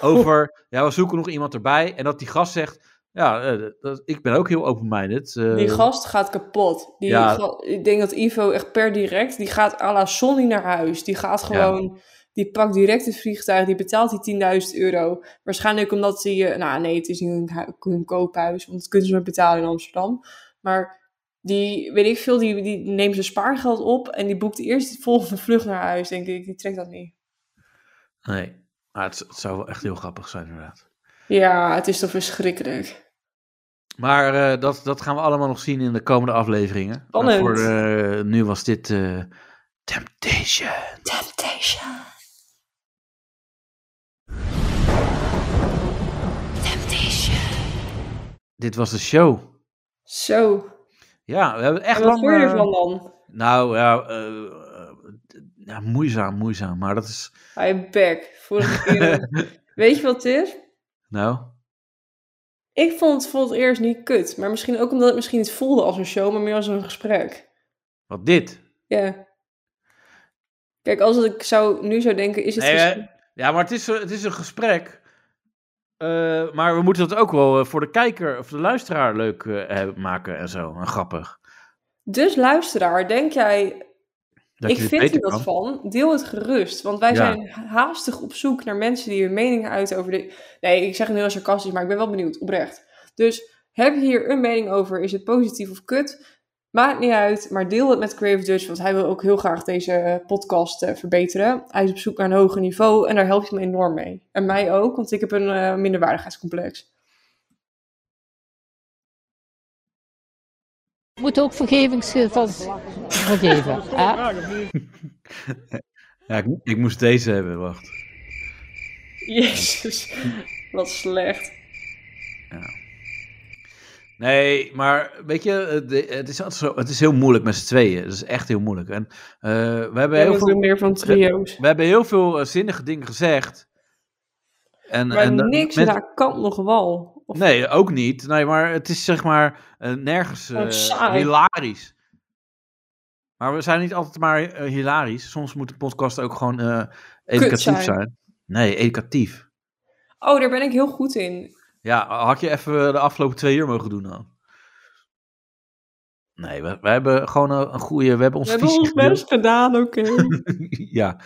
S5: Over, ja, we zoeken nog iemand erbij. En dat die gast zegt, ja, eh, dat- ik ben ook heel open-minded. eh,
S6: Die gast gaat kapot. Die
S5: Ja.
S6: ga- ik denk dat Ivo echt per direct, die gaat à la Sonny naar huis. Die gaat gewoon, die pakt direct het vliegtuig, die betaalt die 10.000 euro. Waarschijnlijk omdat hij, eh, nou nee, het is niet een, hu- een koophuis, want dat kunnen ze maar betalen in Amsterdam. Maar die, weet ik veel, die, die neemt zijn spaargeld op en die boekt eerst de volgende vlucht naar huis, denk ik. Die trekt dat niet.
S5: Nee, maar het, het zou wel echt heel grappig zijn inderdaad.
S6: Ja, het is toch verschrikkelijk.
S5: Maar eh, dat, dat gaan we allemaal nog zien in de komende afleveringen.
S6: Spannend.
S5: Maar Voor, eh, nu was dit eh, Temptation.
S7: Temptation.
S5: Dit was de show.
S6: Zo.
S5: Ja, we hebben echt
S6: en wat
S5: lang...
S6: vond je
S5: eh,
S6: ervan dan?
S5: Nou, ja, eh, eh, ja, moeizaam, moeizaam. Maar dat is...
S6: Hij back. Vorige keer. weet je wat het is?
S5: Nou,
S6: Ik vond het voor het eerst niet kut. Maar misschien ook omdat het misschien niet voelde als een show, maar meer als een gesprek.
S5: wat dit?
S6: Ja. Kijk, als ik zou, nu zou denken, is het... dus
S5: Nee,
S6: gesprek-
S5: eh, ja, maar het is, eh, het is een gesprek. Eh, maar we moeten dat ook wel eh, voor de kijker of de luisteraar leuk eh, hebben- maken en zo. En grappig.
S6: Dus luisteraar, denk jij...
S5: Dat
S6: ik
S5: je dit
S6: vind
S5: beter
S6: hier wat
S5: kan.
S6: van. Deel het gerust. Want wij
S5: Ja.
S6: zijn haastig op zoek naar mensen die hun mening uiten over dit. Nee, ik zeg het nu heel sarcastisch, maar ik ben wel benieuwd. Oprecht. Dus heb je hier een mening over? Is het positief of kut? Maakt niet uit, maar deel het met Creative Dutch, want hij wil ook heel graag deze podcast eh, verbeteren. Hij is op zoek naar een hoger niveau en daar help je me enorm mee. En mij ook, want ik heb een eh, minderwaardigheidscomplex.
S3: moet ook vergevingsgevens vergeven. Hè?
S5: Ja, ik, ik moest deze hebben, wacht.
S6: Jezus, wat slecht.
S5: Nee, maar weet je, eh, de- het is, altijd zo, het is heel moeilijk met z'n tweeën. Het is echt heel moeilijk. En eh, we hebben
S6: Jij
S5: heel
S6: bent
S5: veel
S6: ook meer van trio's.
S5: We, we hebben heel veel eh, zinnige dingen gezegd. En,
S6: Maar
S5: en, eh,
S6: niks
S5: mensen-
S6: daar kant nog wal.
S5: Nee, ook niet. Nee, maar het is zeg maar eh, nergens eh,
S6: Oh, saai.
S5: hilarisch. Maar we zijn niet altijd maar eh, hilarisch. Soms moet de podcast ook gewoon eh, educatief
S6: zijn.
S5: zijn. Nee, educatief.
S6: Oh, daar ben ik heel goed in.
S5: Ja, had je even de afgelopen twee uur mogen doen dan? Nee, we, we hebben gewoon een, een goede... We hebben
S6: We
S5: ons
S6: hebben
S5: visie
S6: ons
S5: gedeeld.
S6: best gedaan, oké.
S5: Ja.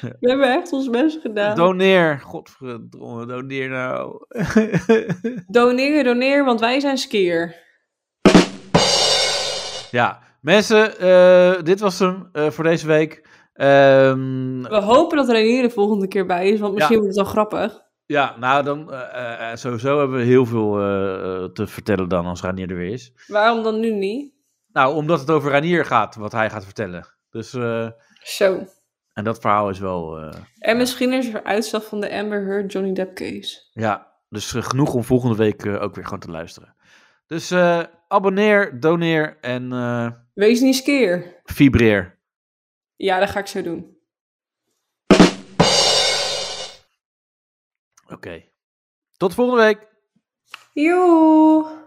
S6: We hebben echt ons best gedaan.
S5: Doneer. Godverdomme, doneer nou.
S6: doneer, doneer, want wij zijn skeer.
S5: Ja, mensen, eh, dit was hem eh, voor deze week. Ehm,
S6: We hopen dat Renier de volgende keer bij is, want misschien
S5: Ja.
S6: wordt het wel grappig.
S5: ja, nou dan eh, eh, sowieso hebben we heel veel eh, eh, te vertellen dan als Ranier er weer is.
S6: Waarom dan nu niet?
S5: Nou, omdat het over Ranier gaat, wat hij gaat vertellen. Dus, eh,
S6: Zo.
S5: en dat verhaal is wel, eh,
S6: En misschien is er uitslag van de Amber Heard Johnny Depp case.
S5: ja, dus eh, genoeg om volgende week eh, ook weer gewoon te luisteren. Dus eh, abonneer, doneer en eh,
S6: Wees niet skeer.
S5: vibreer.
S6: Ja, dat ga ik zo doen.
S5: Oké. Tot volgende week.
S6: Joe.